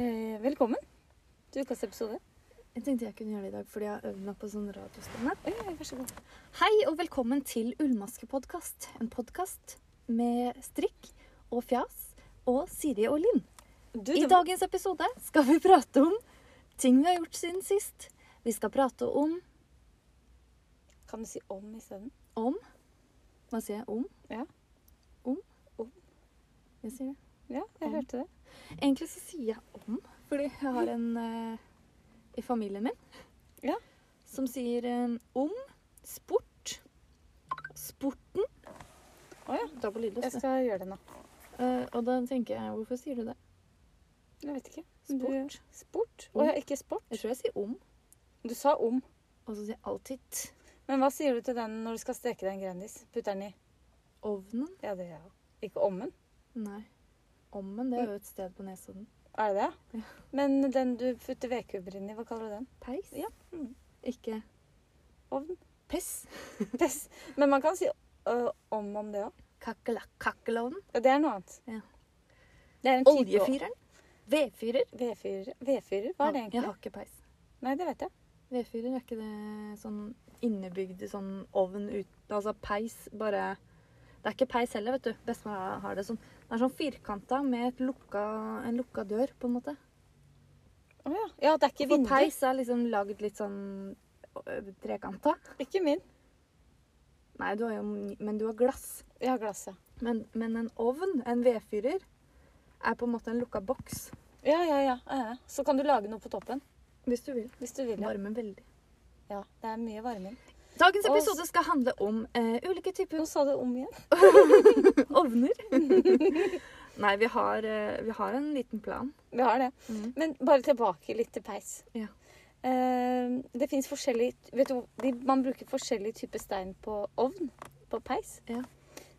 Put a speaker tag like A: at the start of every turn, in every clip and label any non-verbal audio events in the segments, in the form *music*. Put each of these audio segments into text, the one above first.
A: Eh, til ukas episode.
B: Jeg tenkte jeg kunne gjøre det i dag, fordi jeg har øvd meg på sånn radiostemme.
A: Oi, oi, vær så god.
B: Hei, og velkommen til Ullmaskepodkast. En podkast med strikk og fjas og Siri og Linn.
A: Du,
B: I
A: det-
B: dagens episode skal vi prate om ting vi har gjort siden sist. Vi skal prate om
A: Kan du si om isteden?
B: om Hva sier jeg? Om?
A: Ja.
B: Om?
A: Om.
B: Jeg sier det.
A: Ja, jeg
B: Om.
A: hørte det.
B: Egentlig så sier jeg om, fordi jeg har en eh, i familien min
A: Ja.
B: som sier eh, om, sport, sporten
A: Å ja.
B: Da på lydløs,
A: Jeg
B: det.
A: skal gjøre det nå.
B: Eh, og da tenker jeg Hvorfor sier du det?
A: Jeg vet ikke.
B: Sport.
A: Du, sport?
B: Om.
A: Å ja, ikke sport.
B: Jeg tror jeg sier om,
A: Du sa om.
B: og så sier jeg alltid
A: Men hva sier du til den når du skal steke deg en Grandis? Putter den i?
B: ovnen.
A: Ja, det gjør jeg òg. Ikke ommen?
B: Nei. Ommen, det er jo et sted på Nesodden.
A: Er det det? Men den du putter vedkubber inn i, hva kaller du den?
B: Peis?
A: Ja. Mm.
B: Ikke
A: Ovn?
B: pess.
A: Pess. Men man kan si ø, om om det òg.
B: Kakelakk, kakelovnen.
A: Ja, det er noe annet.
B: Ja.
A: Det er en type
B: Oljefyreren. Vedfyrer.
A: Vedfyrer? Vedfyrer? Hva er det
B: Jeg
A: egentlig?
B: har ikke peis.
A: Nei, det vet jeg.
B: Vedfyrer, er ikke det sånn innebygd sånn ovn ut Altså peis, bare Det er ikke peis heller, vet du. Bestemor har- har det sånn. Det er sånn firkanta med et lukka, en lukka dør, på en måte.
A: Å ja. ja, det er ikke
B: For
A: vindu.
B: peis er liksom lagd litt sånn ø, trekanta.
A: Ikke min.
B: Nei, du har jo, men du har glass.
A: Jeg har glasset.
B: Men, men en ovn, en vedfyrer, er på en måte en lukka boks.
A: Ja, ja, ja, ja. ja. Så kan du lage noe på toppen.
B: Hvis du vil.
A: Hvis du vil. Ja,
B: Varmer veldig.
A: ja det er mye varme inn.
B: Dagens
A: Og-
B: episode skal handle om eh, ulike typer
A: Nå sa du om igjen.
B: ovner. Nei, vi har, eh, vi har en liten plan.
A: Vi har det.
B: Mhm.
A: Men bare tilbake litt til peis.
B: Ja.
A: Eh, det fins forskjellige Vet du, de, man bruker forskjellig type stein på ovn. På peis.
B: Ja.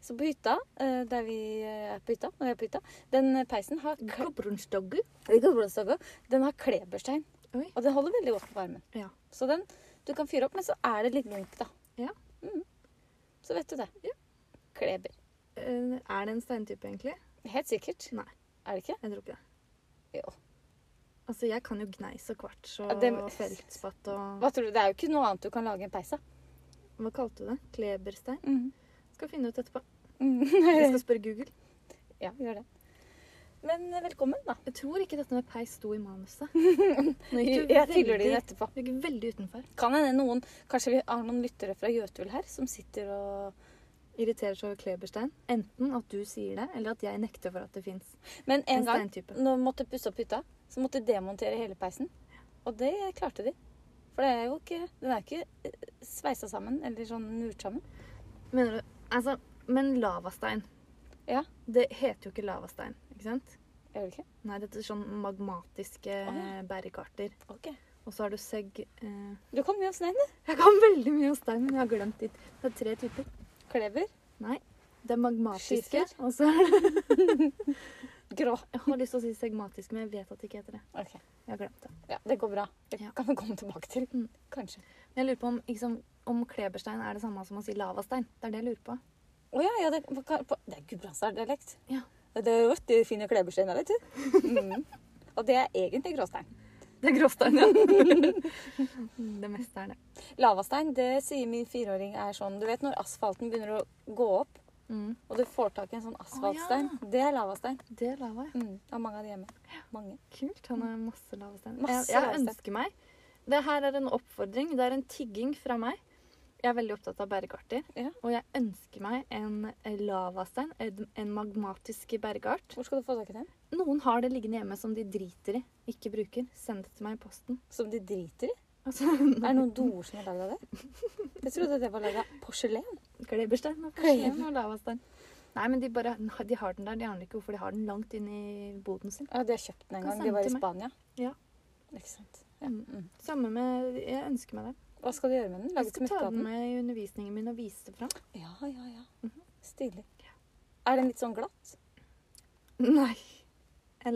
A: Så på hytta, eh, der vi er på hytta, når vi er på hytta, den peisen har kle-
B: Gudbrandsdogger.
A: i Gudbrandsdalen, Den har kleberstein.
B: Oi.
A: Og den holder veldig godt på varmen.
B: Ja.
A: Så den du kan fyre opp, men så er det litt lunk, da.
B: Ja.
A: Mhm. Så vet du det. Kleber.
B: Eh, Er det en steintype, egentlig?
A: Helt sikkert.
B: Nei.
A: Er det ikke?
B: Jeg tror ikke det.
A: Jo.
B: Altså, jeg kan jo gneis og kvarts og
A: Ja, det-
B: feltspatt og
A: Hva tror du? Det er jo ikke noe annet du kan lage en peis av.
B: Hva kalte du det? Kleberstein?
A: Mhm.
B: Skal finne
A: *laughs*
B: ut etterpå. Mm. Vi
A: Mhm.
B: skal spørre Google.
A: ja, gjør det. Men eh, velkommen, da.
B: Jeg tror ikke dette med peis sto
A: *laughs*
B: i manuset. Nå
A: Jeg
B: gikk du
A: jeg fyller det
B: veldig,
A: inn etterpå.
B: du gikk veldig utenfor.
A: Kan hende noen Kanskje vi har noen lyttere fra Jøtul her som sitter og
B: Irriterer seg over kleberstein. Enten at du sier det, eller at jeg nekter for at det fins
A: Men en
B: en
A: gang
B: steintype.
A: når vi måtte pusse opp hytta, så måtte de demontere hele peisen. Og det klarte de. For det er jo ikke Den er ikke eh, sveisa sammen eller sånn murt sammen.
B: Mener du Altså, men lavastein
A: Ja.
B: Det heter jo ikke lavastein, ikke sant?
A: Gjør det ikke?
B: Nei, dette er sånn magmatiske
A: Å,
B: bergarter.
A: Ok.
B: Og så har du segg eh, *laughs*
A: Du kan mye om stein, du.
B: Jeg kan veldig mye om stein, men jeg har glemt ditt. Det er tre typer.
A: Kleber.
B: Nei. Det er magmatiske.
A: Skifer?
B: Og så er det *laughs*
A: Grå.
B: Jeg har lyst til å si segmatiske, men jeg vet at det ikke heter det.
A: Ok.
B: Jeg har glemt det.
A: Ja, det går bra. Det
B: Ja.
A: kan vi komme tilbake til.
B: Mm.
A: Kanskje.
B: Men jeg lurer på om, liksom, om kleberstein er det samme som å si lavastein. Det er det jeg lurer på.
A: Å ja, ja, det, hva kan- på- det er gudbrandsdaldialekt.
B: Ja.
A: Det er jo de fine klebersteiner, vet du. Mm. *laughs* Og det er egentlig gråstein.
B: Det er gråstein, ja. *laughs* det meste er det.
A: Lavastein, det sier min fireåring er sånn Du vet når asfalten begynner å gå opp,
B: Mm.
A: og du får tak i en sånn asfaltstein? Det er lavastein.
B: Det er lava, ja.
A: Mm. Jeg har mange av de hjemme. Mange.
B: Kult. Han har masse lavestein.
A: Masse
B: jeg jeg
A: lavestein.
B: ønsker meg Det her er en oppfordring. Det er en tigging fra meg. Jeg er veldig opptatt av bergarter.
A: Ja.
B: Og jeg ønsker meg en eh, lavastein, en en magmatisk bergart.
A: Hvor skal du få tak i den?
B: Noen har det liggende hjemme som de driter i, ikke bruker. Send det til meg i posten.
A: Som de driter i?
B: Altså, *laughs*
A: Er det noen doer som er lagd av det? Jeg trodde det var lagd av porselen.
B: Kleberstein og porselen og lavastein. Nei, men de, bare, de har den der. De aner ikke hvorfor de har den langt inn i boden sin.
A: Ja, de har kjøpt den en
B: Kan
A: gang.
B: sende
A: De var
B: til
A: i
B: meg.
A: Spania.
B: Ja.
A: Ikke sant. Ja.
B: Mm.
A: Mm.
B: Samme med Jeg ønsker meg det.
A: Hva skal du gjøre med den? Lage
B: Jeg skal
A: smykke
B: ta
A: av den?
B: den med Mhm. i undervisningen min og vise det fram.
A: Ja, ja, ja. Stilig. Er den litt sånn glatt?
B: Nei. En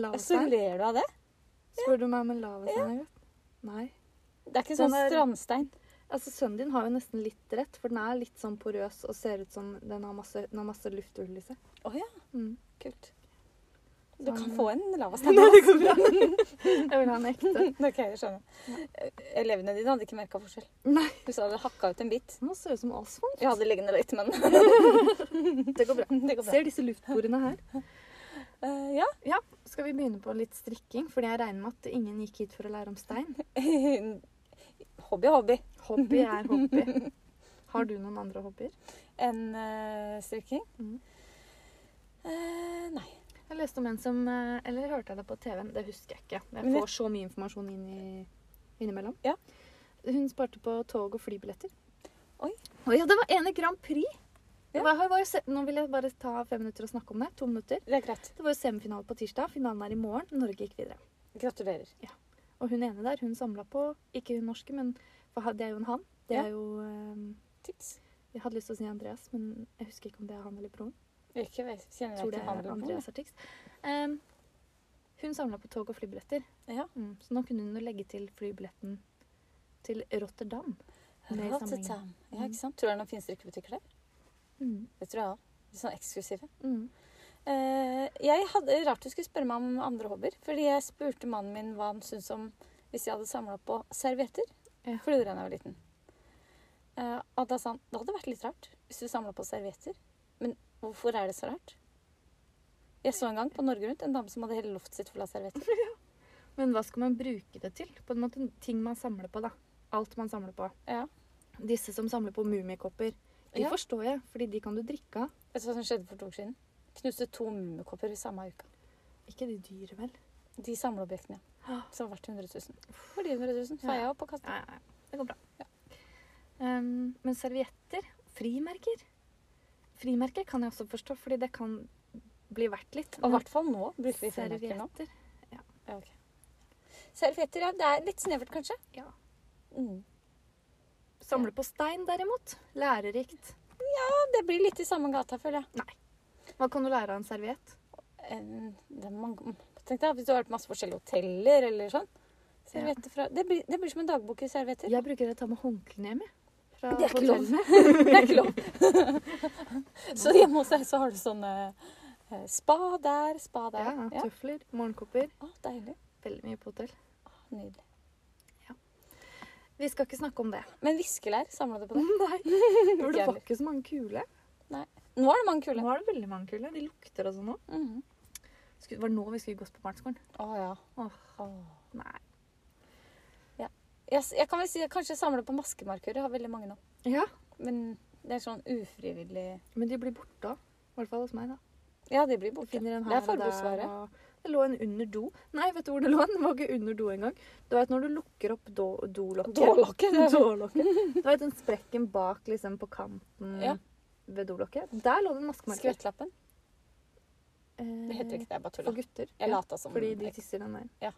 A: Så
B: lavastein?
A: ler du av det.
B: Spør du meg om en lavastein er godt? Nei.
A: Det er ikke
B: Den
A: sånn
B: er-
A: strandstein.
B: Altså, Sønnen din har jo nesten litt rett, for den er litt sånn porøs og ser ut som den har masse, den har masse lufthull i seg.
A: Å ja,
B: Mm.
A: kult. Du
B: Sånn-
A: kan få en
B: *laughs* Nei,
A: lavastemme.
B: det går bra. Jeg vil ha en ekte.
A: *laughs* Ok, jeg skjønner. Eh, Elevene dine hadde ikke merka forskjell.
B: Nei.
A: Hvis du hadde hakka ut en bit.
B: Den må se ut som Osvald.
A: Jeg hadde liggende litt, men *laughs*
B: Det går bra.
A: det går bra.
B: Ser disse luftbordene her?
A: Eh, ja. *laughs*
B: Skal vi begynne på litt strikking? Fordi jeg regner med at ingen gikk hit for å lære om *laughs* stein.
A: Hobby og hobby.
B: Hobby er hobby. Har du noen andre hobbyer?
A: Enn eh, strikking?
B: Mhm.
A: Eh, nei.
B: Jeg leste om en som eh, Eller hørte jeg det på TV-en? Det husker jeg ikke. Jeg
A: Men det-
B: får så mye informasjon inn i, innimellom.
A: Ja.
B: Hun sparte på tog- og flybilletter.
A: Oi.
B: Oi, ja, det var ene Grand Prix! Det
A: Ja.
B: var- har bare se- Nå vil jeg bare ta fem minutter og snakke om det. To minutter.
A: Det er greit.
B: Det var jo semifinale på tirsdag. Finalen er i morgen. Norge gikk videre.
A: Gratulerer.
B: Og hun ene der, hun samla på Ikke hun norske, men for ha- det er jo en han. Det
A: Ja.
B: er jo eh,
A: Tips.
B: Jeg hadde lyst til å si Andreas, men jeg husker ikke om det er han eller broren.
A: Ikke vet, kjenner jeg
B: tror det
A: ikke
B: er
A: handel på.
B: Andreas Artix. Um, hun samla på tog og flybilletter,
A: Ja.
B: mm, så nå kunne hun jo legge til flybilletten til Rotterdam. Med i samlingen.
A: Rotterdam. Ja, ikke sant? Tror du det er noen fine strikkebutikker der?
B: Mm,
A: Det tror jeg òg. Litt sånn eksklusive.
B: mm.
A: Eh, jeg hadde Rart du skulle spørre meg om andre hobbyer. Fordi jeg spurte mannen min hva han syntes om hvis jeg hadde samla på servietter.
B: Ja.
A: For det gjorde jeg da jeg var liten. Eh, og da sa han det hadde vært litt rart hvis du samla på servietter. Men hvorfor er det så rart? Jeg så en gang på Norge Rundt en dame som hadde hele loftet sitt fullt av servietter.
B: Men hva skal man bruke det til? På en måte Ting man samler på, da. Alt man samler på.
A: Ja.
B: Disse som samler på mummikopper. De
A: Ja.
B: forstår jeg, fordi de kan du drikke av.
A: Vet du hva som skjedde for to uker siden? Knuste to mummikopper i samme uke.
B: Ikke de dyre, vel?
A: De samleobjektene som var verdt 100 000. For de 100 000 feia opp og kasta.
B: Nei, nei, det går bra. Um, men servietter, frimerker Frimerker kan jeg også forstå, fordi det kan bli verdt litt.
A: Og i
B: Men
A: hvert fall nå bruker vi frimerker nå.
B: servietter.
A: Ja, ok. Servietter, ja. Det er litt snevert, kanskje?
B: Ja.
A: Mm.
B: Samle på stein, derimot. Lærerikt.
A: Ja, det blir litt i samme gata, føler jeg.
B: Hva kan du lære av en serviett?
A: En- Det er mange... Tenk deg, Hvis du har vært på masse forskjellige hoteller eller sånn. Servietter fra det blir, det blir som en dagbok i servietter.
B: Jeg bruker å ta med håndklærne hjem. jeg, fra
A: Det er ikke lov.
B: hotellene. *laughs*
A: Det er ikke lov. *laughs* så hjemme hos deg så har du sånne eh, spa der, spa der.
B: Ja,
A: Ja.
B: tøfler, morgenkopper.
A: Å, deilig.
B: Veldig mye på hotell.
A: Å, nydelig.
B: Vi skal ikke snakke om det.
A: Men viskelær, samla du på *laughs* det?
B: *laughs* Nei. For det
A: heller.
B: var ikke så mange kule.
A: Nå er det mange
B: Nå
A: kule.
B: er det veldig mange kule. De lukter og sånn òg.
A: Mhm.
B: Det var nå vi skulle gått på barneskolen.
A: Å ja.
B: Åh.
A: Åh.
B: Nei.
A: Jeg, s- jeg kan vel si jeg kanskje samler på maskemarkører. Jeg har veldig mange nå.
B: Ja,
A: Men det er sånn ufrivillig
B: Men de blir borte òg. I hvert fall hos meg. da.
A: Ja, de blir
B: Du
A: borte.
B: finner en
A: Det er
B: her og der.
A: forbudsvare. *laughs*
B: og- Det lå en under do. Nei, vet du hvor det lå? *laughs* Den var ikke under do engang. Du vet når du lukker opp do-
A: *laughs*
B: dolokket
A: Dårlokket. det er-
B: Dårlokket. Du vet den sprekken bak liksom på kanten
A: Ja.
B: ved dolokket? Der lå det en maskemarker.
A: Skvettlappen.
B: Eh,
A: Det heter ikke det, jeg bare
B: For
A: tuller.
B: gutter.
A: Jeg
B: ja,
A: lata som.
B: fordi de tisser den veien.
A: Ja.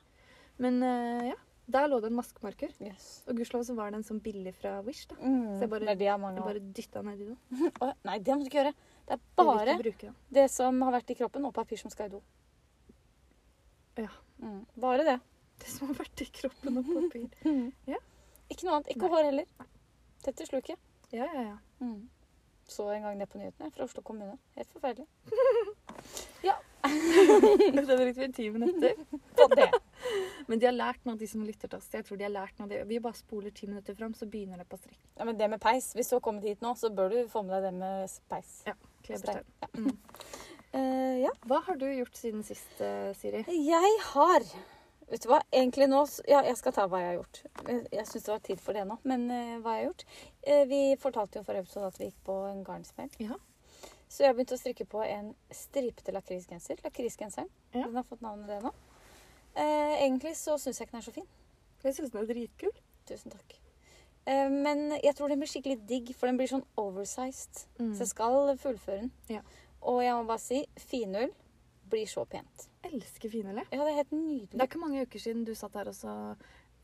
B: Men eh, ja, der lå det en maskemarker.
A: Yes.
B: Og gudskjelov så var det en sånn billig fra Wish. da.
A: Mm,
B: Så jeg bare-
A: det er de jeg har mange
B: Jeg
A: av.
B: bare dytta ned i do.
A: Å, Nei, det må du ikke gjøre. Det er
B: Jeg vil
A: bare
B: ikke bruke den.
A: det som har vært i kroppen, og papir som skal i do.
B: Ja.
A: Mm, bare det.
B: Det som har vært i kroppen og papir. Ja.
A: Ikke noe annet. Ikke
B: Nei.
A: hår heller. Dette sluket.
B: Ja, ja,
A: *laughs*
B: ja.
A: Mm. Så en gang det på nyhetene fra Oslo kommune. Helt forferdelig. ja,
B: Det brukte vi ti minutter.
A: på det.
B: Men de har lært noe, de som lytter til oss. Jeg tror de har lært noe. Vi bare spoler ti minutter fram, så begynner det på strikk.
A: Ja, men det med peis. Hvis du har kommet hit nå, så bør du få med deg det med peis.
B: Ja. Kleberstein.
A: Eh, ja.
B: Hva har du gjort siden sist, eh, Siri?
A: Jeg har Vet du hva, egentlig nå s- Ja, jeg skal ta hva jeg har gjort. Jeg- Jeg syns det var tid for det nå, men eh, hva jeg har gjort Eh, Vi fortalte jo forrige episode at vi gikk på en garnsmell.
B: Ja.
A: Så jeg begynte å strikke på en stripete lakrisgenser. Lakrisgenseren.
B: Ja.
A: Den har fått navnet det nå. Eh, egentlig så syns jeg ikke den er så fin.
B: Jeg syns den er dritkul.
A: Tusen takk. Eh, men jeg tror den blir skikkelig digg, for den blir sånn oversized. Så jeg
B: Jeg
A: skal fullføre den.
B: Mm. Ja.
A: Og jeg må bare si finull blir så pent.
B: elsker finhullet.
A: Ja, det er helt
B: Det er
A: nydelig.
B: ikke mange uker siden du satt her og så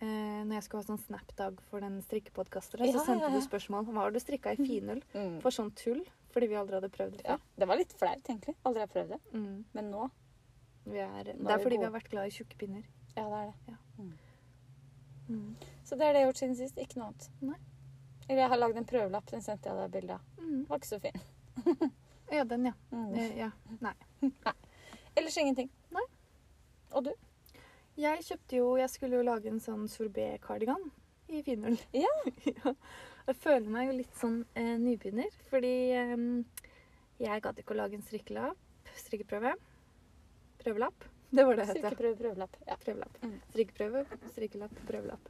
B: Eh, når jeg skulle ha sånn Snap-dag for den strikkepodkasteren,
A: Ja,
B: så sendte
A: ja, ja.
B: du spørsmål om hva har du strikka i finull
A: Mm.
B: for sånn tull. Fordi vi aldri hadde prøvd det
A: Ja,
B: før.
A: det var litt flaut, egentlig. Aldri har prøvd det.
B: Mm.
A: Men nå
B: Vi er, det
A: Nå er
B: er
A: vi
B: fordi vi
A: gode.
B: har vært glad i tjukke pinner.
A: Ja, det er det.
B: Mm.
A: Så det er det jeg har gjort siden sist. Ikke noe annet.
B: Nei.
A: Eller jeg har lagd en prøvelapp. Den sendte jeg deg bilde av.
B: Mm.
A: Den Var ikke så fin.
B: Ja, den, ja.
A: Mm.
B: Eh, ja. Nei.
A: Ellers ingenting.
B: Nei.
A: Og du?
B: Jeg kjøpte jo Jeg skulle jo lage en sånn sorbet-kardigan i finull.
A: *laughs* Ja.
B: Ja. Jeg føler meg jo litt sånn eh, nybegynner, fordi eh, jeg gadd ikke å lage en strikkelapp. Strikkeprøve. Prøvelapp. *laughs* Det var det det het. ja.
A: Styrkeprøve, prøvelapp. Ja.
B: Prøvelapp.
A: Mm.
B: Strikkeprøve, strikkelapp, prøvelapp.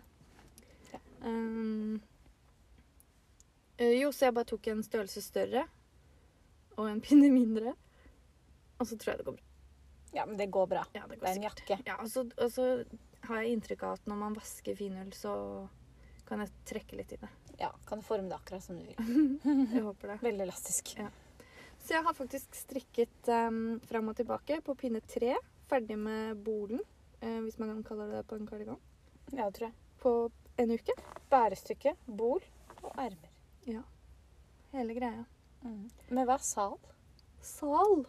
A: Ja.
B: Um, eh, jo, så jeg bare tok en størrelse større og en pinne mindre. Og så tror jeg det går bra.
A: ja, men det går bra.
B: Ja, det går
A: Det er en
B: sikkert.
A: jakke.
B: Ja, og så, og så har jeg inntrykk av at når man vasker finull, så kan jeg trekke litt i det.
A: Ja, Kan du forme det akkurat som du vil.
B: Jeg håper det.
A: Veldig elastisk.
B: Så jeg har faktisk strikket um, fram og tilbake på pinne tre, ferdig med bolen, eh, hvis man kan kalle det det på en kardigan,
A: Ja, det tror jeg.
B: på en uke.
A: Bærestykke, bol og ermer.
B: Hele greia. Mm.
A: Med hver sal. *laughs*
B: Sal!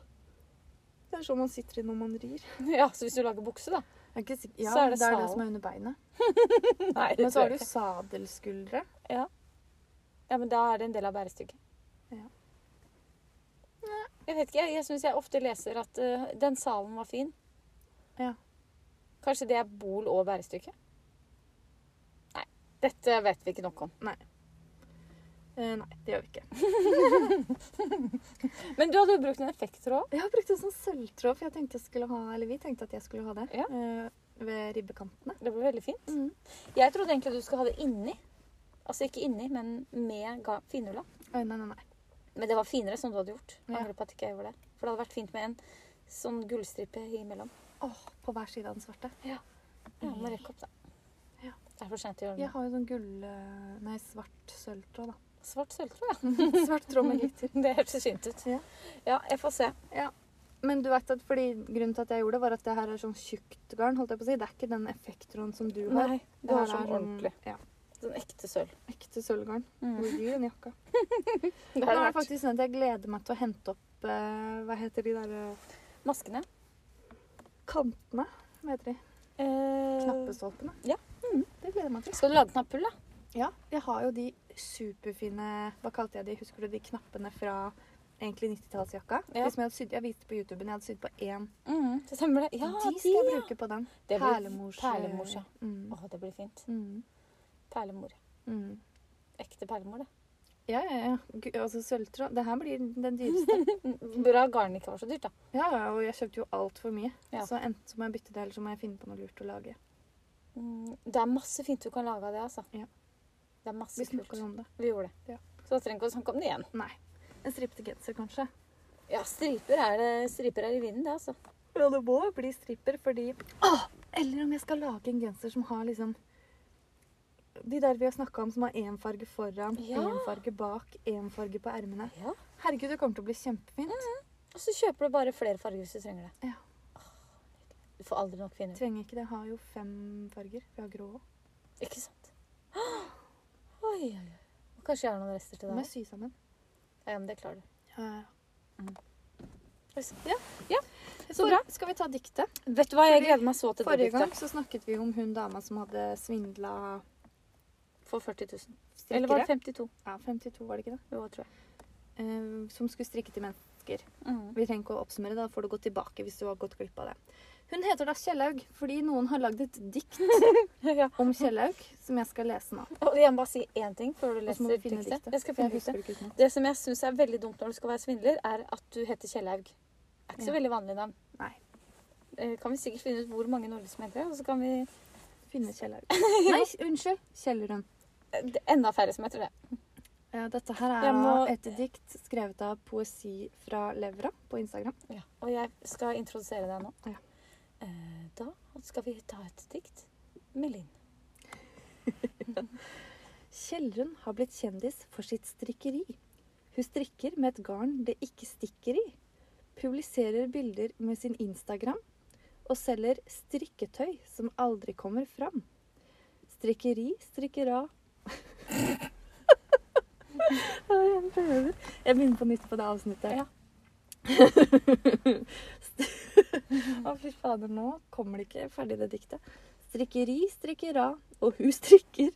B: Det er sånn man sitter i når man rir.
A: Ja, så hvis du lager bukse, da.
B: Jeg er ikke sikker. Ja,
A: Så er
B: det,
A: det
B: er det
A: sal.
B: som er under beinet.
A: *laughs* Nei,
B: Men så har du jo sadelskuldre.
A: Ja, men da er det en del av bærestykket.
B: Ja.
A: Jeg vet ikke, jeg, jeg syns jeg ofte leser at eh, den salen var fin.
B: Ja.
A: Kanskje det er bol og bærestykke? Nei, dette vet vi ikke nok om.
B: Eh, nei, det gjør vi ikke.
A: Men du hadde jo brukt en effekttråd.
B: Jeg har brukt en sånn sølvtråd, for jeg tenkte jeg skulle ha, eller vi tenkte at jeg skulle ha det
A: Ja.
B: eh, ved ribbekantene.
A: Det ble veldig fint.
B: Mm.
A: Jeg trodde egentlig du skulle ha det inni. Altså ikke inni, men med ga- finhulla.
B: Oi, nei, nei, nei.
A: Men det var finere som du hadde gjort.
B: Ja.
A: Angrer på at ikke jeg gjorde det. For det hadde vært fint med en sånn gullstripe imellom.
B: Åh, på hver side av den svarte.
A: Ja, må rekke opp, da.
B: Ja.
A: Det er for sent å gjøre det.
B: Jeg har jo sånn gull... eh, Nei, svart sølvtråd, da.
A: nå. Svart sølvtråd, ja.
B: *laughs* svart tråd med glitter.
A: *laughs* Det hørtes fint ut.
B: Ja.
A: ja, jeg får se.
B: Men du vet at fordi grunnen til at jeg gjorde det, var at det her er sånn tjukt garn, holdt jeg på å si. Det er ikke den effekttråden som du har.
A: Nei, det
B: her
A: var sånn ordentlig.
B: Ja,
A: Sånn ekte sølv.
B: ekte sølvgarn. Hvor dyr den jakka.
A: Det
B: Nå Mm. er
A: har
B: det
A: vært
B: faktisk sånn at jeg gleder meg til å hente opp, eh, hva heter de der eh,
A: maskene.
B: kantene? Hva heter de?
A: Eh,
B: Knappestolpene.
A: ja.
B: Mm, det gleder jeg meg til.
A: skal du lage knappull, da?
B: Ja, jeg har jo de superfine Hva kalte jeg de? Husker du de knappene fra egentlig 90-tallsjakka?
A: Ja.
B: De som jeg hadde sydd Jeg viste på YouTuben, jeg hadde sydd på én.
A: Det stemmer det. Ja,
B: Mm. de skal jeg bruke på den.
A: Det blir
B: Perlemors. eh,
A: perlemors, ja.
B: Mm.
A: Å, det blir fint.
B: Mm.
A: Perlemor.
B: Mm.
A: Ekte perlemor, det.
B: Ja, ja, ja. Gu- Altså sølvtråd. Det her blir den dyreste. *laughs*
A: Mm, Bra garnet ikke var så dyrt, da.
B: ja, ja, og jeg kjøpte jo altfor mye.
A: Ja.
B: Så enten så må jeg bytte det, eller så må jeg finne på noe lurt å lage.
A: Mm, Det er masse fint du kan lage av det, altså.
B: Ja.
A: Det er masse
B: Vi
A: kult.
B: snakker om det.
A: Vi gjorde det.
B: Ja.
A: Så da trenger vi ikke å snakke om det igjen.
B: Nei. En stripete genser, kanskje.
A: Ja, striper er, det, striper er i vinden, det, altså.
B: Ja, det må bli stripper, fordi Åh! Eller om jeg skal lage en genser som har liksom De der vi har snakka om, som har én farge foran, én
A: Ja.
B: farge bak, én farge på ermene.
A: Ja.
B: Herregud, det kommer til å bli kjempefint.
A: Og så kjøper du bare flere farger hvis du trenger det.
B: Ja.
A: Åh, Du får aldri nok finner.
B: Trenger ikke det. Jeg har jo fem farger. Vi har grå òg.
A: Ikke sant? *gasps* Oi, oi, oi. Og Kanskje jeg har noen rester til
B: Må
A: deg.
B: jeg sy sammen.
A: Ja, men det klarer du.
B: Ja,
A: Yes.
B: ja.
A: Ja,
B: Så
A: for-
B: bra. Skal vi ta diktet?
A: Vet du hva, jeg gleder meg så til det
B: Forrige gang
A: diktet.
B: så snakket vi om hun dama som hadde svindla
A: For 40 000.
B: strikkere.
A: Eller var det 52?
B: Ja, 52, var det ikke det?
A: Jo, tror jeg.
B: Eh, som skulle strikke til mennesker. Vi trenger ikke å oppsummere, da får du gå tilbake hvis du har gått glipp av det. Hun heter da Kjellaug fordi noen har lagd et dikt
A: *laughs* ja.
B: om Kjellaug som jeg skal lese nå.
A: Og jeg må bare si én ting før du
B: Og så
A: leser
B: må du finne
A: diktet.
B: diktet.
A: Jeg skal finne diktet.
B: husker det ikke utenat.
A: Det som jeg syns er veldig dumt når du skal være svindler, er at du heter Kjellaug. Det er ikke så
B: Ja.
A: veldig vanlig navn.
B: Nei.
A: Eh, Kan vi sikkert finne ut hvor mange nordlys som heter det, og så kan vi
B: Finne
A: *laughs*
B: Kjellaug. Nei, unnskyld. Kjellrun.
A: Eh, det er Enda færre som heter det.
B: Ja, dette her er
A: Jeg må-
B: da et dikt skrevet av Poesi fra Levra på Instagram.
A: Og jeg skal introdusere deg nå.
B: Ja.
A: Eh, Da skal vi ta et dikt med Linn.
B: Kjellrun har blitt kjendis for sitt strikkeri. Hun strikker med et garn det ikke stikker i. Publiserer bilder med sin Instagram og selger strikketøy som aldri kommer fram. Strikkeri, strikkera Ja, Jeg prøver. Jeg begynner på nytt på det avsnittet.
A: Ja.
B: *laughs* Å, fy fader, nå kommer det ikke ferdig det diktet. Strikkeri, strikkera, og hun strikker.